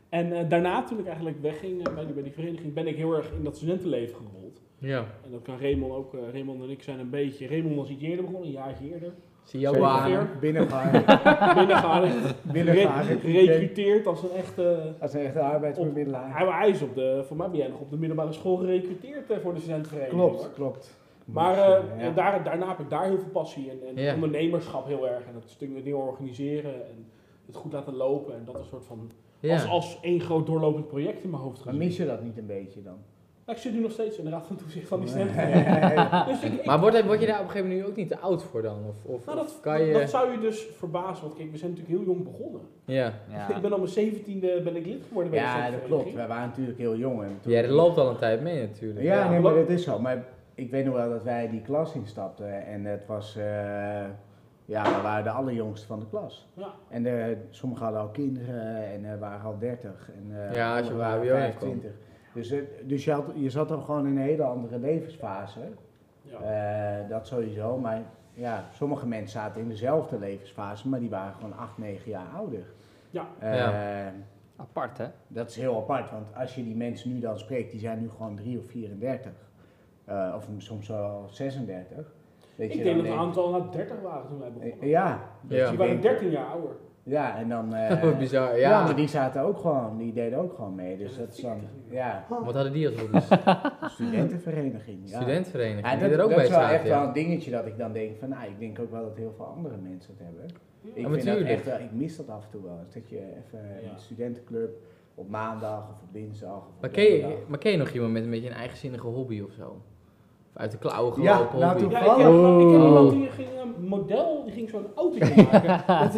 D: en eh, daarna toen ik eigenlijk wegging eh, bij, die, bij die vereniging, ben ik heel erg in dat studentenleven gerold.
B: Ja.
D: En dat kan Raymond ook. eh, Raymond en ik zijn een beetje. Raymond was iets eerder begonnen, een jaartje
A: (laughs)
D: eerder.
B: Zie jou wel aan.
A: Binnenvaren.
D: (laughs) Binnengehaald,
A: Binnenvaren.
D: gerecruiteerd als een echte.
A: Als een echte
D: Hij
A: arbeidsbemiddelaar.
D: hij is op de. Voor mij ben jij nog op de middelbare school gerecruiteerd eh, voor de studentenvereniging.
A: Klopt,
D: hoor.
A: klopt.
D: Maar
A: Ja.
D: eh, en daar, daarna heb ik daar heel veel passie en, en
B: Ja.
D: ondernemerschap heel erg. En dat stuk dingen organiseren en het goed laten lopen. En dat een soort van. Als,
B: Ja.
D: als één groot doorlopend project in mijn hoofd
A: Maar
D: gezien.
A: mis je dat niet een beetje dan?
D: Maar ik zit nu nog steeds in de raad van toezicht van
A: (laughs)
D: die studentenvereniging.
A: Nee.
D: Dus ik, ik-
B: Maar word, word je daar op een gegeven moment nu ook niet te oud voor dan? Of, of,
D: nou,
B: of
D: dat,
B: kan je...
D: dat zou je dus verbazen. Want kijk, we zijn natuurlijk heel jong begonnen.
B: Ja.
D: (laughs) Ik ben op mijn zeventiende ben ik lid geworden bij
A: Ja,
D: de
A: dat klopt.
D: Ja,
A: Wij waren natuurlijk heel jong. En toen-
B: Ja, dat loopt al een tijd mee natuurlijk.
A: Ja, nee, maar
D: klopt.
A: dat is zo. Maar ik weet nog wel dat wij die klas instapten en het was, eh, ja, we waren de allerjongste van de klas.
D: Ja.
A: En eh, sommigen hadden al kinderen en eh, waren al 30 en eh,
B: Ja, als
A: anderen
B: je op
A: waren
B: HBO heen
A: 25. Dus, eh, dus je, had, je zat dan gewoon in een hele andere levensfase.
D: ja.
A: Eh, dat sowieso, maar ja, sommige mensen zaten in dezelfde levensfase, maar die waren gewoon 8, 9 jaar ouder.
D: Ja.
A: Eh,
C: Apart, hè?
A: dat is heel apart, want als je die mensen nu dan spreekt, die zijn nu gewoon 3 of 34. Eh, of soms wel 36. Weet
D: Ik
A: je,
D: denk
A: dan
D: dat een
A: denk-
D: aantal na 30 waren toen wij begonnen. Dus
A: Eh, Ja, dat
B: Ja.
A: je
D: Die waren
A: denkt-
D: 13 jaar ouder.
A: Ja, en dan... eh,
B: Wat (laughs) bizar,
A: ja.
B: ja.
A: maar die zaten ook gewoon, die deden ook gewoon mee. Dus
D: Ja,
A: dat is dan,
D: 40.
A: ja,
B: Wat hadden die als
A: (laughs)
B: hobby's?
A: studentenvereniging. Ja.
B: Studentenvereniging,
A: Ja,
B: die
A: dat
B: er ook
A: dat
B: bij
A: is wel
B: zaten.
A: echt wel
B: ja.
A: een dingetje dat ik dan denk van, nou, ik denk ook wel dat heel veel andere mensen het hebben. Ik,
B: Ja,
A: vind dat
B: natuurlijk.
A: echt, wel- ik mis dat af en toe wel. eens, Dat je even
D: Ja.
A: een studentenclub op maandag of op dinsdag of op
B: Maar ken, je, (laughs)
A: donderdag.
B: maar ken je nog iemand met een beetje een eigenzinnige hobby of zo? Of uit de klauwen
A: Ja,
B: gelopen
A: nou,
B: hobby?
A: toen-
D: Ja, ik
A: Vallen.
D: heb, ik heb
C: Oeh.
D: iemand die ging een model, die ging zo'n autootje maken. Dat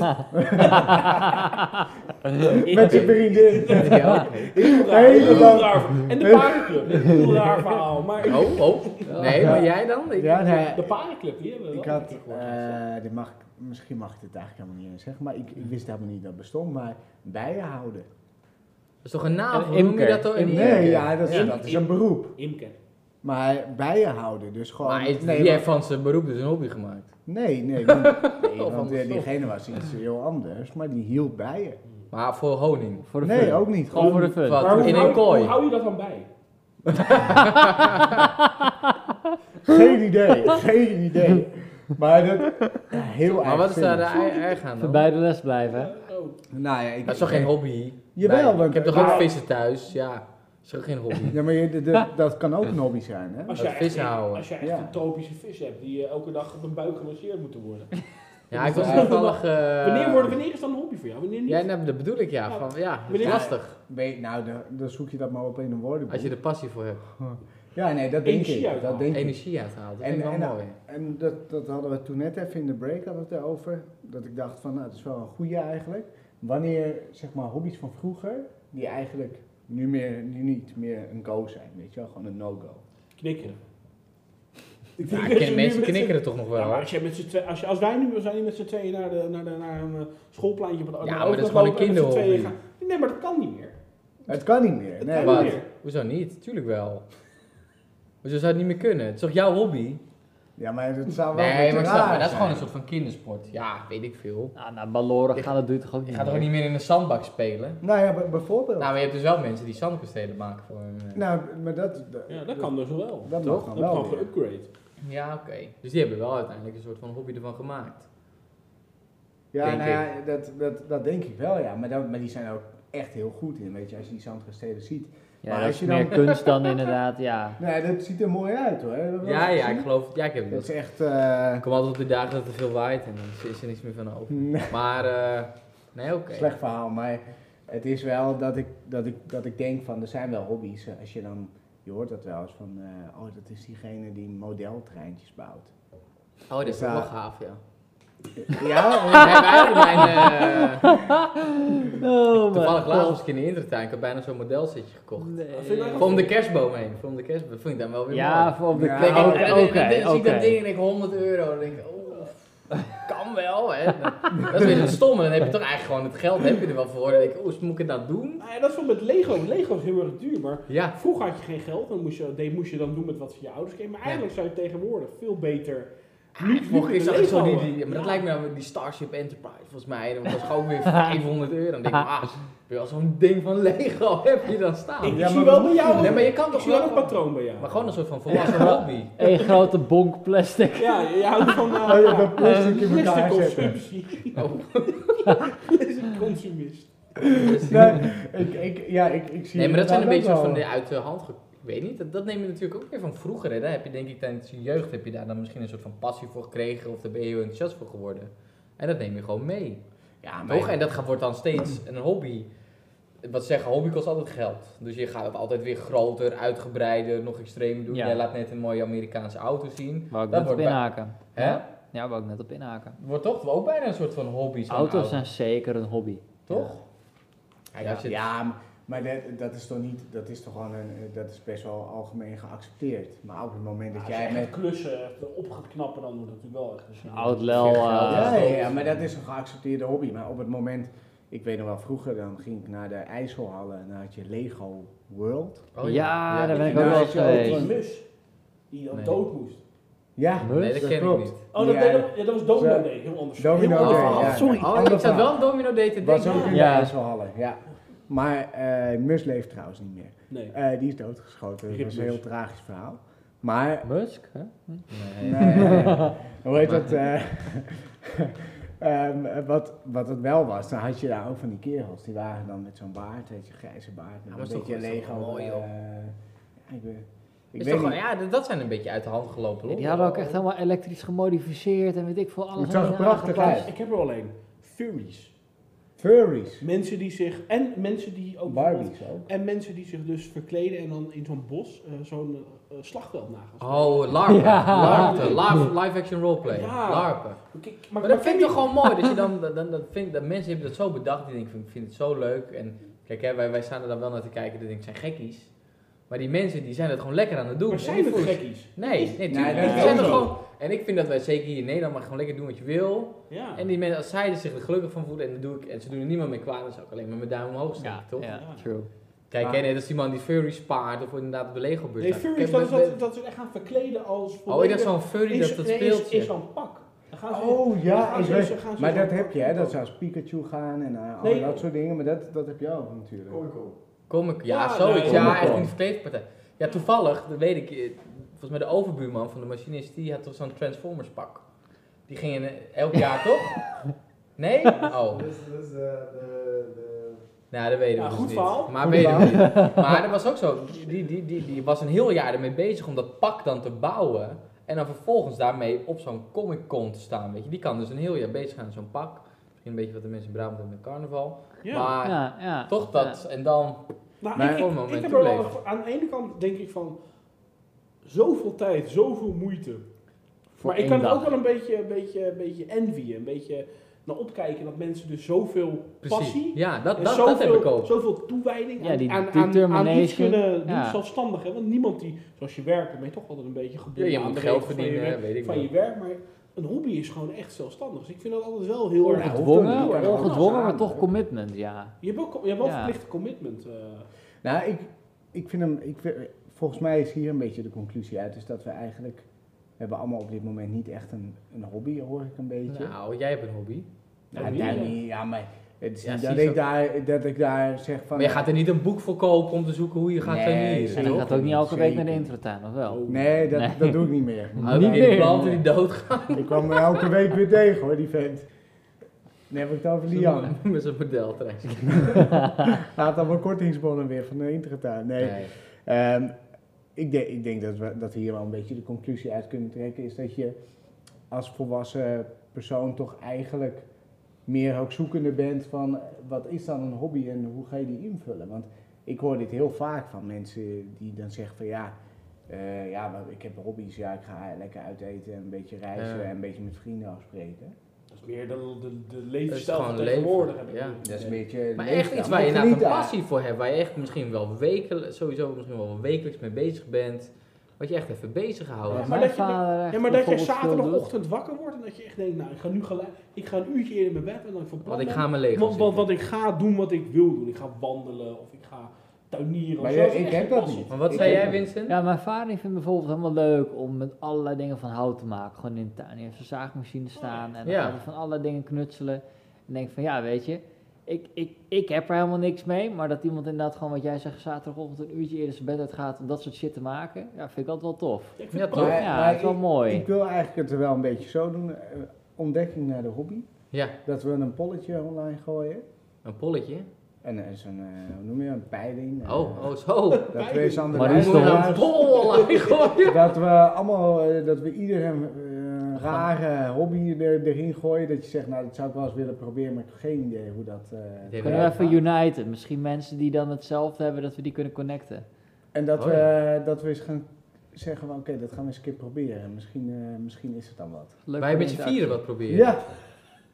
D: is-
A: Met je vriendin.
B: (laughs) Ja, oké.
D: Heel raar,
A: Hele
D: heel
A: lang.
D: raar. En de paardenclub, heel raar verhaal. Maar ik-
B: Oh, oh. Nee, maar jij dan? Ik-
A: Ja, nee,
D: de paardenclub, die hebben we
A: Ik
D: wel
A: had,
D: een keer gehoord.
A: eh, dit mag, ik- misschien mag ik dit eigenlijk helemaal niet eens zeggen, maar ik, ik wist helemaal niet dat het bestond, maar bijenhouden.
B: Dat is toch een naam?
C: Een
B: Hoe noem je
C: imker.
B: dat dan?
C: Imker.
A: Nee, ja, dat is,
D: Ja.
A: dat is een beroep.
D: Imke.
A: Maar bijenhouden, dus gewoon...
B: Maar is- die
A: nee,
B: heeft
A: want-
B: van zijn beroep dus een hobby gemaakt.
A: nee, nee,
B: (laughs)
A: want- nee, want eh,
B: andersom.
A: diegene was iets heel anders, maar die hield bijen.
B: Maar voor honing.
C: (laughs) Voor de
A: Nee,
C: fun.
A: ook niet.
C: Gewoon voor de fun.
B: Wat?
D: Maar hoe
B: in een
D: hou-
B: kooi.
D: Hoe hou je dat dan bij?
A: Geen idee, (laughs) geen idee. Maar dat... ja, heel
B: Maar wat is daar
A: eigenzinnig.
B: de erg aan
C: Voor
B: dan?
C: bij de les blijven, hè?
D: Eh, oh.
A: Nou ja, ik...
B: Dat is toch geen hobby?
A: Jawel,
B: Nee,
A: want-
B: Ik heb toch
A: maar-
B: ook vissen thuis? Ja, dat is toch geen hobby?
A: Ja, maar je- de- de-
B: (laughs)
A: dat kan ook een hobby zijn, hè?
D: Als
B: Dat
D: jij echt,
B: vissen houden.
D: als jij echt
A: Ja.
D: een tropische vis hebt die eh, elke dag op een buik gemasseerd moeten worden.
B: Eh, Ja,
A: (laughs)
B: ik was
A: Ja.
B: toevallig... eh,
D: Wanneer, worden, wanneer is dat een hobby voor jou? Wanneer niet?
B: Ja, nou, dat bedoel ik ja.
D: Ja.
B: Van, ja, dat is
D: Wanneer-
B: lastig.
A: Weet- nou, dan- dan zoek je dat maar op in een woordenboek.
B: Als je er passie voor hebt.
A: Ja, nee, dat denk
D: Energie
A: ik. Dat
D: uithaalt.
A: denk ik.
B: Energie uithaalt. Dat
A: En-
B: vind ik
A: en-
B: wel mooi.
A: En dat, dat hadden we toen net even in de break hadden we het erover. Dat ik dacht van, nou, het is wel een goeie eigenlijk. Wanneer, zeg maar, hobby's van vroeger, die eigenlijk nu, meer, nu niet meer een go zijn, weet je wel, gewoon een no-go.
D: Knikkeren.
B: (laughs)
D: Ik
B: Ja,
D: denk
B: ik
D: dat je
B: ken mensen
D: nu met z'n-
B: knikken er toch nog wel.
D: Ja, maar
B: hoor.
D: als, jij met z'n twee, als, je, als wij nu we zijn hier met z'n tweeën naar, de, naar, de, naar een eh, schoolpleintje op de
B: Ja,
D: naar de
B: maar dat is
D: Hoofdweg
B: gewoon een
D: lopen en met z'n tweeën
B: kinderhobby.
D: gaan- Nee, maar dat kan niet meer.
A: Het kan niet meer. Nee,
D: kan
B: Wat?
D: niet meer.
B: Hoezo niet? Tuurlijk wel. Hoezo zou het niet meer kunnen? Het is toch jouw hobby?
A: Ja, maar dat zou wel
B: Nee,
A: wat
B: maar, ik
A: raar
B: snap, maar dat is gewoon
A: zijn.
B: een soort van kindersport. Ja, weet ik veel.
C: Nou, naar Balloren
B: Je-
C: gaan, dat doet toch ook
B: Je
C: niet
B: gaat toch
C: meer?
B: niet meer in een zandbak spelen?
A: Nou ja, b- bijvoorbeeld.
B: Nou, maar je hebt dus wel mensen die zandkastelen maken voor hun... eh,
A: Nou, maar dat... dat-
D: Ja, dat kan dus wel.
A: Dat
B: Toch?
A: mag dan
D: Dat kan
A: wel weer.
D: geupgrade.
B: Ja, oké. Dus die hebben wel uiteindelijk een soort van hobby ervan gemaakt.
A: Ja,
B: Denk
A: nou ja, dat, dat, dat denk ik wel, ja. Maar, dat, maar die zijn er ook echt heel goed in, weet je, als je die zandkastelen ziet.
C: Ja,
A: Maar
C: dat
A: als
C: is
A: je
C: meer kunst dan inderdaad,
A: (laughs)
C: ja.
A: Nee, dat ziet er mooi uit hoor. Heb je dat wel
B: Ja, ja,
A: gezien?
B: ik geloof... Ja, ik heb het wel
A: Dat is
B: eens-
A: echt... eh, (laughs)
B: Ik kom altijd op de dagen dat er veel waait en dan is er niks meer van over.
A: nee,
B: Maar, eh, nee, oké.
A: Mm. slecht verhaal, maar het is wel dat ik, dat, ik, dat ik denk van, er zijn wel hobby's. eh, Als je dan, je hoort dat wel eens van, eh, oh dat is diegene die modeltreintjes bouwt.
B: (laughs) Oh, dat is
A: Ja.
B: wel gaaf, ja. Oh,
A: Ja, eh,
B: Nee, wij hadden mijn... eh,
C: Oh,
B: toevallig laatst was ik in de Intertuin. Ik had bijna zo'n modelsetje gekocht. Voor om de kerstboom heen. Voor om de kerstboom. Dat vind ik dan wel weer
C: Ja,
B: mooi.
C: voor op de
A: Ja,
B: Denk ik, en
C: Oké,
B: dan- en dan
C: oké,
B: zie ik dat ding
C: oké.
B: en ik 100 euro. Dan denk ik, oh, kan wel. Hè. Dat is weer het stomme. Dan heb je toch eigenlijk gewoon het geld heb je er wel voor. Dan denk ik, oh, moet ik het nou doen?
D: Nou ja, dat is wel met Lego. Lego is heel erg duur, maar
B: Ja,
D: Vroeger had je geen geld, dan moest je, deed- moest je dan doen met wat van je ouders kregen. Maar
B: Ja.
D: eigenlijk zou je tegenwoordig veel beter.
B: Mocht ik
D: met
B: zag
D: Lego
B: zo die, die,
D: houden.
B: maar dat
D: Ja.
B: lijkt me nou die Starship Enterprise volgens mij. Dan was gewoon weer 500 euro. Dan denk ik, ah, heb je wel zo'n ding van Lego heb je dan staan.
D: Ik
A: Ja,
D: zie
A: maar
D: wel
A: we
D: bij jou.
B: Nee, maar je kan
D: ik
B: toch
D: zie wel een
B: wel.
D: patroon bij jou.
B: Maar gewoon een soort van volwassen hobby.
C: Eén grote bonk plastic.
D: Ja, je je houdt van. eh,
A: oh, je
D: ja,
A: hebt een plastic in elkaar zetten.
D: plasticconsumptie.
B: Oh,
D: (laughs) Consumist.
A: Nee, ik, ik, ja, ik, ik zie
B: Nee, maar dat zijn een beetje
A: inderdaad
B: soort van
A: wel-
B: de uit de hand. ge- Ik weet niet, dat, dat neem je natuurlijk ook weer van vroeger. Hè. Daar heb je denk ik tijdens je jeugd heb je daar dan misschien een soort van passie voor gekregen. Of daar ben je heel enthousiast voor geworden. En dat neem je gewoon mee.
A: Ja,
B: Toch? En dat gaat- wordt dan steeds een hobby. Wat zeggen, hobby kost altijd geld. Dus je gaat het altijd weer groter, uitgebreider, nog extreem doen.
C: Ja.
B: Jij laat net een mooie Amerikaanse auto zien.
C: Waar ik
B: Dat
C: net op
B: wordt bij-
C: inhaken.
B: Hè?
C: Ja, waar ik net op inhaken.
B: Wordt toch ook bijna een soort van hobby. zo'n
C: Auto's
B: auto,
C: zijn zeker een hobby.
B: Toch? Kijk, als je het-
A: Ja, m- maar dat, dat is toch niet, dat is toch gewoon een, eh, dat is best wel algemeen geaccepteerd. Maar op het moment dat
D: Ah, Als
A: jij
D: jij
A: met
D: met klussen echt op gaat knappen, dan wordt het natuurlijk wel echt
C: Een
D: een
C: oud lel. eh,
A: ja, ja,
B: dat-
A: ja, maar dat is een geaccepteerde hobby. Maar op het moment, ik weet nog wel vroeger, dan ging ik naar de IJsselhallen en dan had je Lego World.
B: Oh
C: Ja, daar ben ik
A: ook
D: Nou,
A: wel
D: weet je wel,
A: geweest.
D: Die mus die dan
B: Nee.
D: dood moest.
A: Ja,
B: Nee, dat ken ik
A: klopt.
B: niet.
D: Oh, dat,
A: Ja.
D: deed- ja, dat was Domino
A: Zo.
D: Day, heel anders.
A: Domino
D: Heel
A: Day,
D: anders.
A: ja.
D: sorry.
A: Ander
B: Oh, ik zat
A: verhaal.
B: wel een domino date te
A: Was
B: denken.
A: ook in
C: Ja.
A: de IJsselhallen, ja. Maar eh Mus leeft trouwens niet meer.
D: Nee.
A: Eh, die is doodgeschoten. Dat
D: Rip
A: was een
D: Mus.
A: heel tragisch verhaal.
C: (laughs)
A: Maar
C: Musk, hè?
B: Nee.
A: Nee,
B: (laughs)
A: hoe heet dat? eh, (laughs) ehm, wat, wat het wel was, dan had je daar ook van die kerels. Die waren dan met zo'n baard, weet je, grijze baard. Met
B: maar is
A: een
B: toch-
A: beetje
B: is toch
A: Lego.
B: mooi, joh.
A: eh, ja, ik ben- ik
B: Is
A: weet
B: toch
A: niet.
B: gewoon, ja, dat- dat zijn een beetje uit de hand gelopen. hoor.
C: Die hadden ook echt helemaal elektrisch gemodificeerd en weet ik veel alles.
A: Het zag er
C: helemaal
A: prachtig
C: aangepast.
A: uit.
D: Ik heb er alleen Furies.
A: Furries.
D: Mensen die zich. En mensen die ook.
A: Barbies ook.
D: En mensen die zich dus verkleden en dan in zo'n bos eh, zo'n eh, eh, slagveld nagaan.
B: Oh, LARPen.
C: Ja.
B: LARPen.
A: (laughs)
B: Live, live action roleplay.
D: Ja.
B: LARPen.
D: Kijk,
B: Maar dat
D: ken
B: vind ik
D: je-
B: toch gewoon mooi. Dat,
D: (laughs)
B: je dan, dat, dan- dat, vind, dat mensen hebben dat zo bedacht. Die denken, van, ik vind het zo leuk. En kijk, hè, wij, wij staan er dan wel naar te kijken. Dat denk ik, zijn gekkies. Maar die mensen die zijn dat gewoon lekker aan het doen.
D: Maar
B: En
D: zijn
B: die
D: het
B: voelen-
D: gekkies?
B: Nee, nee, tuurlijk
A: dat
B: niet.
A: is
B: Die zijn
D: ook
B: er
D: zo.
B: gewoon. En ik vind dat wij zeker hier in Nederland maar gewoon lekker doen wat je wil.
D: Ja.
B: En die mensen, als zij er zich er gelukkig van voelen en, dat doe ik, en ze doen er niemand mee kwaad, dan zou ik alleen maar mijn duim omhoog steken,
C: Ja,
B: toch?
C: ja, true.
B: Kijk,
A: Maar-
B: hè, net als die man die furries paard of inderdaad op de Lego-beurs.
D: Nee,
B: staat.
D: Furies,
B: Kijk,
D: dat is
B: we- we-
D: dat, dat ze echt gaan verkleden als.
B: Oh, ik dacht zo'n furry dat dat speelt.
D: In zo'n pak. Dan gaan ze-
A: Oh
D: dan
A: ja,
D: gaan
A: ik
D: ze-
A: weet-
D: ze gaan ze
A: maar
D: zo'n
A: dat
D: pak
A: heb je, hè, dat
D: kopen.
A: zou als Pikachu gaan en eh, al
D: Nee.
A: dat soort dingen. Maar dat, dat heb je ook natuurlijk.
B: Kom ik, ja,
D: Ja,
B: zoiets.
D: nee,
B: ja,
A: Comic-Con.
B: echt in de verkleedpartij. Ja, toevallig, dat weet ik. eh, Volgens mij de overbuurman van de machinist, die had toch zo'n Transformers pak. Die gingen eh, elk
D: (laughs)
B: jaar toch? Nee? Oh,
E: Dus, dus de, de, de...
B: nou, dat weten we
D: Ja,
B: dus
D: goed
B: niet.
D: verhaal.
B: Maar
A: Goed
B: weten we
A: verhaal.
B: niet. (laughs) Maar dat was ook zo. Die, die, die, die was een heel jaar ermee bezig om dat pak dan te bouwen. En dan vervolgens daarmee op zo'n Comic Con te staan. Weet je. Die kan dus een heel jaar bezig gaan met zo'n pak. Misschien een beetje wat de mensen in Brabant hebben met carnaval.
D: Ja.
B: Maar
C: Ja, ja.
B: toch dat. En dan
D: Nou,
A: Maar
D: ik-
B: voor een
D: ik, ik,
B: moment
D: heb er wel-
B: toeleven.
D: aan de ene kant denk ik van. zoveel tijd, zoveel moeite.
C: Voor
D: maar ik
C: één
D: kan
C: dag.
D: het ook wel een beetje, een beetje, een beetje envyen, een beetje naar opkijken dat mensen dus zoveel
B: Precies.
D: passie
B: Ja, dat,
D: en
B: dat,
D: zoveel,
B: dat heb ik ook.
D: zoveel toewijding
C: Ja,
D: aan,
C: die
D: aan, aan, aan iets
C: determination.
D: kunnen doen,
C: Ja.
D: zelfstandig. Hè? Want niemand die, zoals je werkt, dan ben je toch altijd een beetje
B: Ja,
D: gebonden
B: je
D: aan
B: moet
D: de
B: geld
D: regels van je
B: verdienen,
D: werk-
B: weet ik
D: van je
B: wel.
D: werk. Maar een hobby is gewoon echt zelfstandig. Dus ik vind dat altijd wel heel erg...
A: Ja,
C: Gedwongen,
A: hoeft ook niet.
C: ongedwongen, maar
A: Ja.
C: toch commitment, ja.
D: Je hebt, ook, je hebt wel
C: Ja.
D: verplichte commitment. eh.
A: Nou, ik, ik vind hem. Ik, vind- volgens mij is hier een beetje de conclusie uit. Is dat we eigenlijk. We hebben allemaal op dit moment niet echt een, een hobby, hoor ik een beetje.
B: Nou, jij hebt een hobby.
A: Nou,
D: hobby,
A: daar
D: ja.
A: niet, ja, maar. Het is
B: Ja,
A: niet
B: zie
A: dat,
B: je
A: ik
B: zo-
A: daar, dat ik daar zeg van.
B: Maar je gaat er niet een boek voor kopen om te zoeken hoe je gaat
A: Nee,
B: tuinieren.
A: zeker.
C: En je
A: ook
C: gaat ook niet
A: niet,
C: elke week naar de
A: zeker.
C: intratuin, of wel?
D: Oh.
A: Nee, dat,
C: Nee.
A: dat doe ik niet meer.
B: (laughs)
C: Niet
B: Niet
C: meer.
B: meer. planten die doodgaan
A: Ik kwam er elke week weer tegen hoor, die vent. Dan heb ik het over Lian.
B: (laughs) met zijn modeltrein.
A: Laat dan mijn kortingsbonnen weer van de intratuin. Nee. Ehm, ik, denk, ik denk dat we dat we hier wel een beetje de conclusie uit kunnen trekken. Is dat je als volwassen persoon toch eigenlijk meer ook zoekende bent van eh, wat is dan een hobby en hoe ga je die invullen? Want ik hoor dit heel vaak van mensen die dan zeggen van ja, eh, ja maar ik heb hobby's, ja ik ga lekker uit eten en een beetje reizen
B: Ja.
A: en een beetje met vrienden afspreken.
D: Dat is meer de, de, de
B: Dat is gewoon
D: levensstijl van
B: leven,
D: tegenwoordig. heb ik
B: ja.
D: het idee.
A: Dat is een beetje...
B: Maar
A: leeftijd.
B: echt iets waar je
A: Maar
B: inderdaad
A: geniet
B: een
A: daar.
B: passie voor hebt, waar je echt misschien wel wekelijks, sowieso misschien wel wekelijks mee bezig bent, wat je echt even bezig houdt.
D: Ja, maar
C: Mijn
D: dat je-
C: vader echt
D: Ja, maar
C: bijvoorbeeld
D: dat je
C: veel doet.
D: zaterdagochtend wakker wordt en dat je echt denkt, nou, ik ga nu gelijk, ik ga een uurtje eerder in mijn bed en dan van plan
B: Want ik
D: ben-
B: ga mijn leeg
D: want, want, want ik ga doen wat ik wil doen. Ik ga wandelen of ik ga tuinieren.
A: Maar
D: of
A: ja,
D: zo.
A: ik
D: is
A: heb
D: echt
A: dat
D: passie.
A: niet.
B: Maar wat
A: Ik
B: zei
A: heb
B: jij,
A: dat niet.
B: Vincent?
C: Ja, mijn vader die vindt het bijvoorbeeld helemaal leuk om met allerlei dingen van hout te maken. Gewoon in de tuin. Hij heeft zijn zaagmachine staan en dan
B: Ja.
C: gaat hij van allerlei dingen knutselen. En denk van ja, weet je, ik, ik, ik heb er helemaal niks mee. Maar dat iemand inderdaad gewoon wat jij zegt zaterdagochtend een uurtje eerder zijn bed uit gaat om dat soort shit te maken. Ja, vind ik altijd wel tof.
D: Ik vind
B: Ja,
D: het
B: toch?
A: Maar-
C: Ja, dat is wel mooi.
A: Ik wil eigenlijk het wel een beetje zo doen. eh, Ontdekking naar de hobby.
B: Ja,
A: Dat we een polletje online gooien.
B: een polletje.
A: En er is een, eh, hoe noem je dat, een peiling. eh,
B: Oh, oh, zo.
A: Dat we eens aan de
C: Maar
B: Hoe
C: die is
B: moet je nou een
A: luisteraars-
B: pol aan gooien?
A: Dat we allemaal, eh, dat we ieder een eh, rare hobby er, erin gooien. Dat je zegt, nou dat zou ik wel eens willen proberen, maar ik heb geen idee hoe dat... eh,
B: idee
C: Kunnen we even uniten? Misschien mensen die dan hetzelfde hebben, dat we die kunnen connecten.
A: en dat,
B: Oh,
A: we, eh, dat we eens gaan zeggen, van, oké, dat gaan we eens een keer proberen. Misschien, eh, misschien is het dan wat.
C: Leuk
B: Wij
C: voor
B: met z'n
C: interactie.
B: vieren wat proberen.
A: Ja.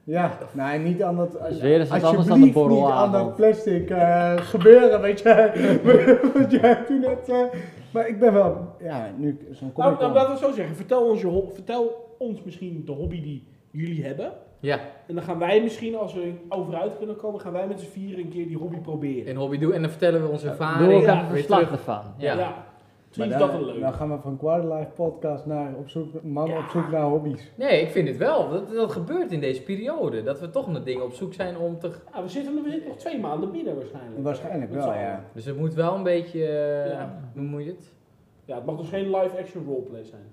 A: Ja, nou niet aan dat...
C: Dus weer is het anders dan de
A: Alsjeblieft niet aan dat
C: borrelavond.
A: plastic eh, gebeuren, weet je. (laughs) Want jij hebt toen net... eh, maar ik ben wel... Ja, nu ik zo'n
D: Nou,
A: comic
D: nou, laten we het zo zeggen. Vertel ons, je, ho- vertel ons misschien de hobby die jullie hebben.
B: Ja,
D: En dan gaan wij misschien, als we overuit kunnen komen, gaan wij met z'n vieren een keer die hobby proberen.
B: in hobby doen en dan vertellen we onze
C: Doe
B: ervaring.
C: ook
D: Ja,
C: even
B: weer
C: verslag
B: terug.
C: ervan.
B: Ja.
D: Misschien is
A: dan,
D: dat een leuk.
A: Dan gaan we van Quarterlife podcast naar op zoek, mannen
D: Ja.
A: op zoek naar hobby's.
B: Nee, ik vind het wel. Dat, dat gebeurt in deze periode. Dat we toch naar dingen op zoek zijn om te...
D: Ja, Ah, we, zitten, nog- we zitten nog twee maanden binnen waarschijnlijk.
A: Waarschijnlijk
D: Met
A: wel,
D: z'n allen.
A: ja.
B: Dus het moet wel een beetje... eh,
D: Ja.
B: Hoe moet je het?
D: Ja, het mag dus geen live-action roleplay zijn.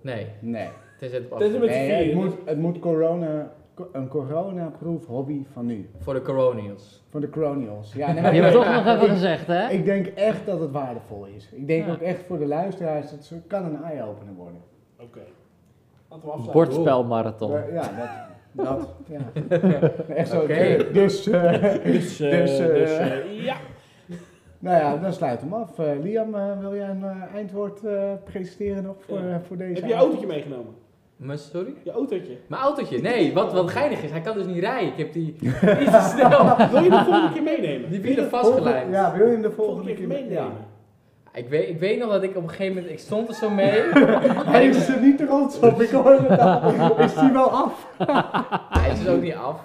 B: Nee,
A: Nee,
B: tenzij het op
D: Tenzij
B: afstand-
D: z'n
A: nee het,
D: vieren.
A: moet, het moet corona, co- een coronaproof hobby van nu.
B: Voor de coronials.
A: Van de coronials. Ja, nee, maar
C: Je hebt
A: ik-
C: toch nog even gezegd, hè?
A: ik denk echt dat het waardevol is. Ik denk
C: Ja.
A: ook echt voor de luisteraars, het zo- kan een eye-opener worden.
D: Oké. Laten we afsluiten.
C: Bordspelmarathon.
A: Ja, dat... dat ja. Echt zo.
B: Oké.
A: Dus... eh, (laughs)
D: Dus, eh,
A: Dus, eh,
D: dus,
A: (laughs)
D: eh, ja.
A: Nou ja, dan sluit hem af. Eh, Liam, eh, wil jij een eh, eindwoord eh, presenteren nog voor,
D: Ja.
A: eh, voor deze
D: Heb je je
A: avond?
D: autootje meegenomen?
B: Maar sorry?
D: Je autootje.
B: Mijn autootje? Nee, wat, wat geinig is. Hij kan dus niet rijden. Ik heb die niet
A: (laughs)
B: te snel.
D: Wil je de volgende keer meenemen?
B: Die wielen
A: Volgende-
B: vastgelijmd.
A: Ja, wil je hem de
D: volgende
A: volgende
D: keer
A: keer mee-
D: meenemen.
A: Ja.
B: Ik, weet, ik weet nog dat ik op een gegeven moment... Ik stond er zo mee.
A: Hij is er niet trots op, ik hoor het al. Is hij wel af?
B: Hij is dus ook niet af.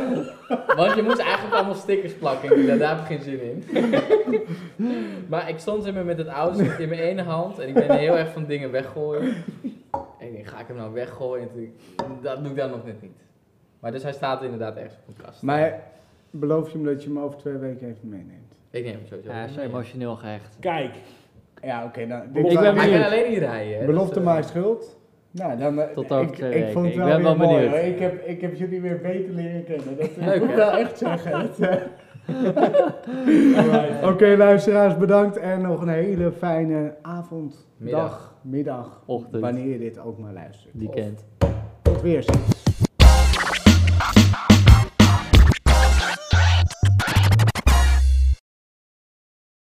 A: (laughs)
B: Want je moest eigenlijk allemaal stickers plakken. en Daar, daar heb ik geen zin in. maar ik stond in (laughs) me met het oude in mijn ene hand. En ik ben heel erg van dingen weggooien. En ik denk, ga ik hem nou weggooien? En toen- dat doe ik dan nog net niet. Maar dus hij staat inderdaad ergens op een kast.
A: Maar beloof je me dat je hem over twee weken even meeneemt?
B: Ik neem hem sowieso.
C: Ja, hij is
B: mee.
C: emotioneel gehecht.
D: Kijk,
A: Ja, oké. nou,
D: Ik
A: was-
C: ben
B: Hij kan
C: benieuwd.
B: alleen niet rijden. Hè?
A: Belofte
B: Dus, eh,
A: maar schuld. Nou, dan, eh,
C: Tot over
A: ik,
C: twee
A: ik
C: weken.
A: vond het
C: Ik
A: wel
C: ben
A: weer
C: wel
A: mooi,
C: benieuwd.
A: hoor. Ik heb, ik heb jullie weer beter leren kennen. Dat
B: Leuk,
A: moet ik
B: hè?
A: wel echt zeggen. Het, eh,
D: Alright. (laughs)
A: Oké, luisteraars, bedankt en nog een hele fijne avond,
B: Middag.
A: dag, middag,
C: Ochtend.
A: wanneer je dit ook maar luistert.
C: Die kent.
A: Tot weer.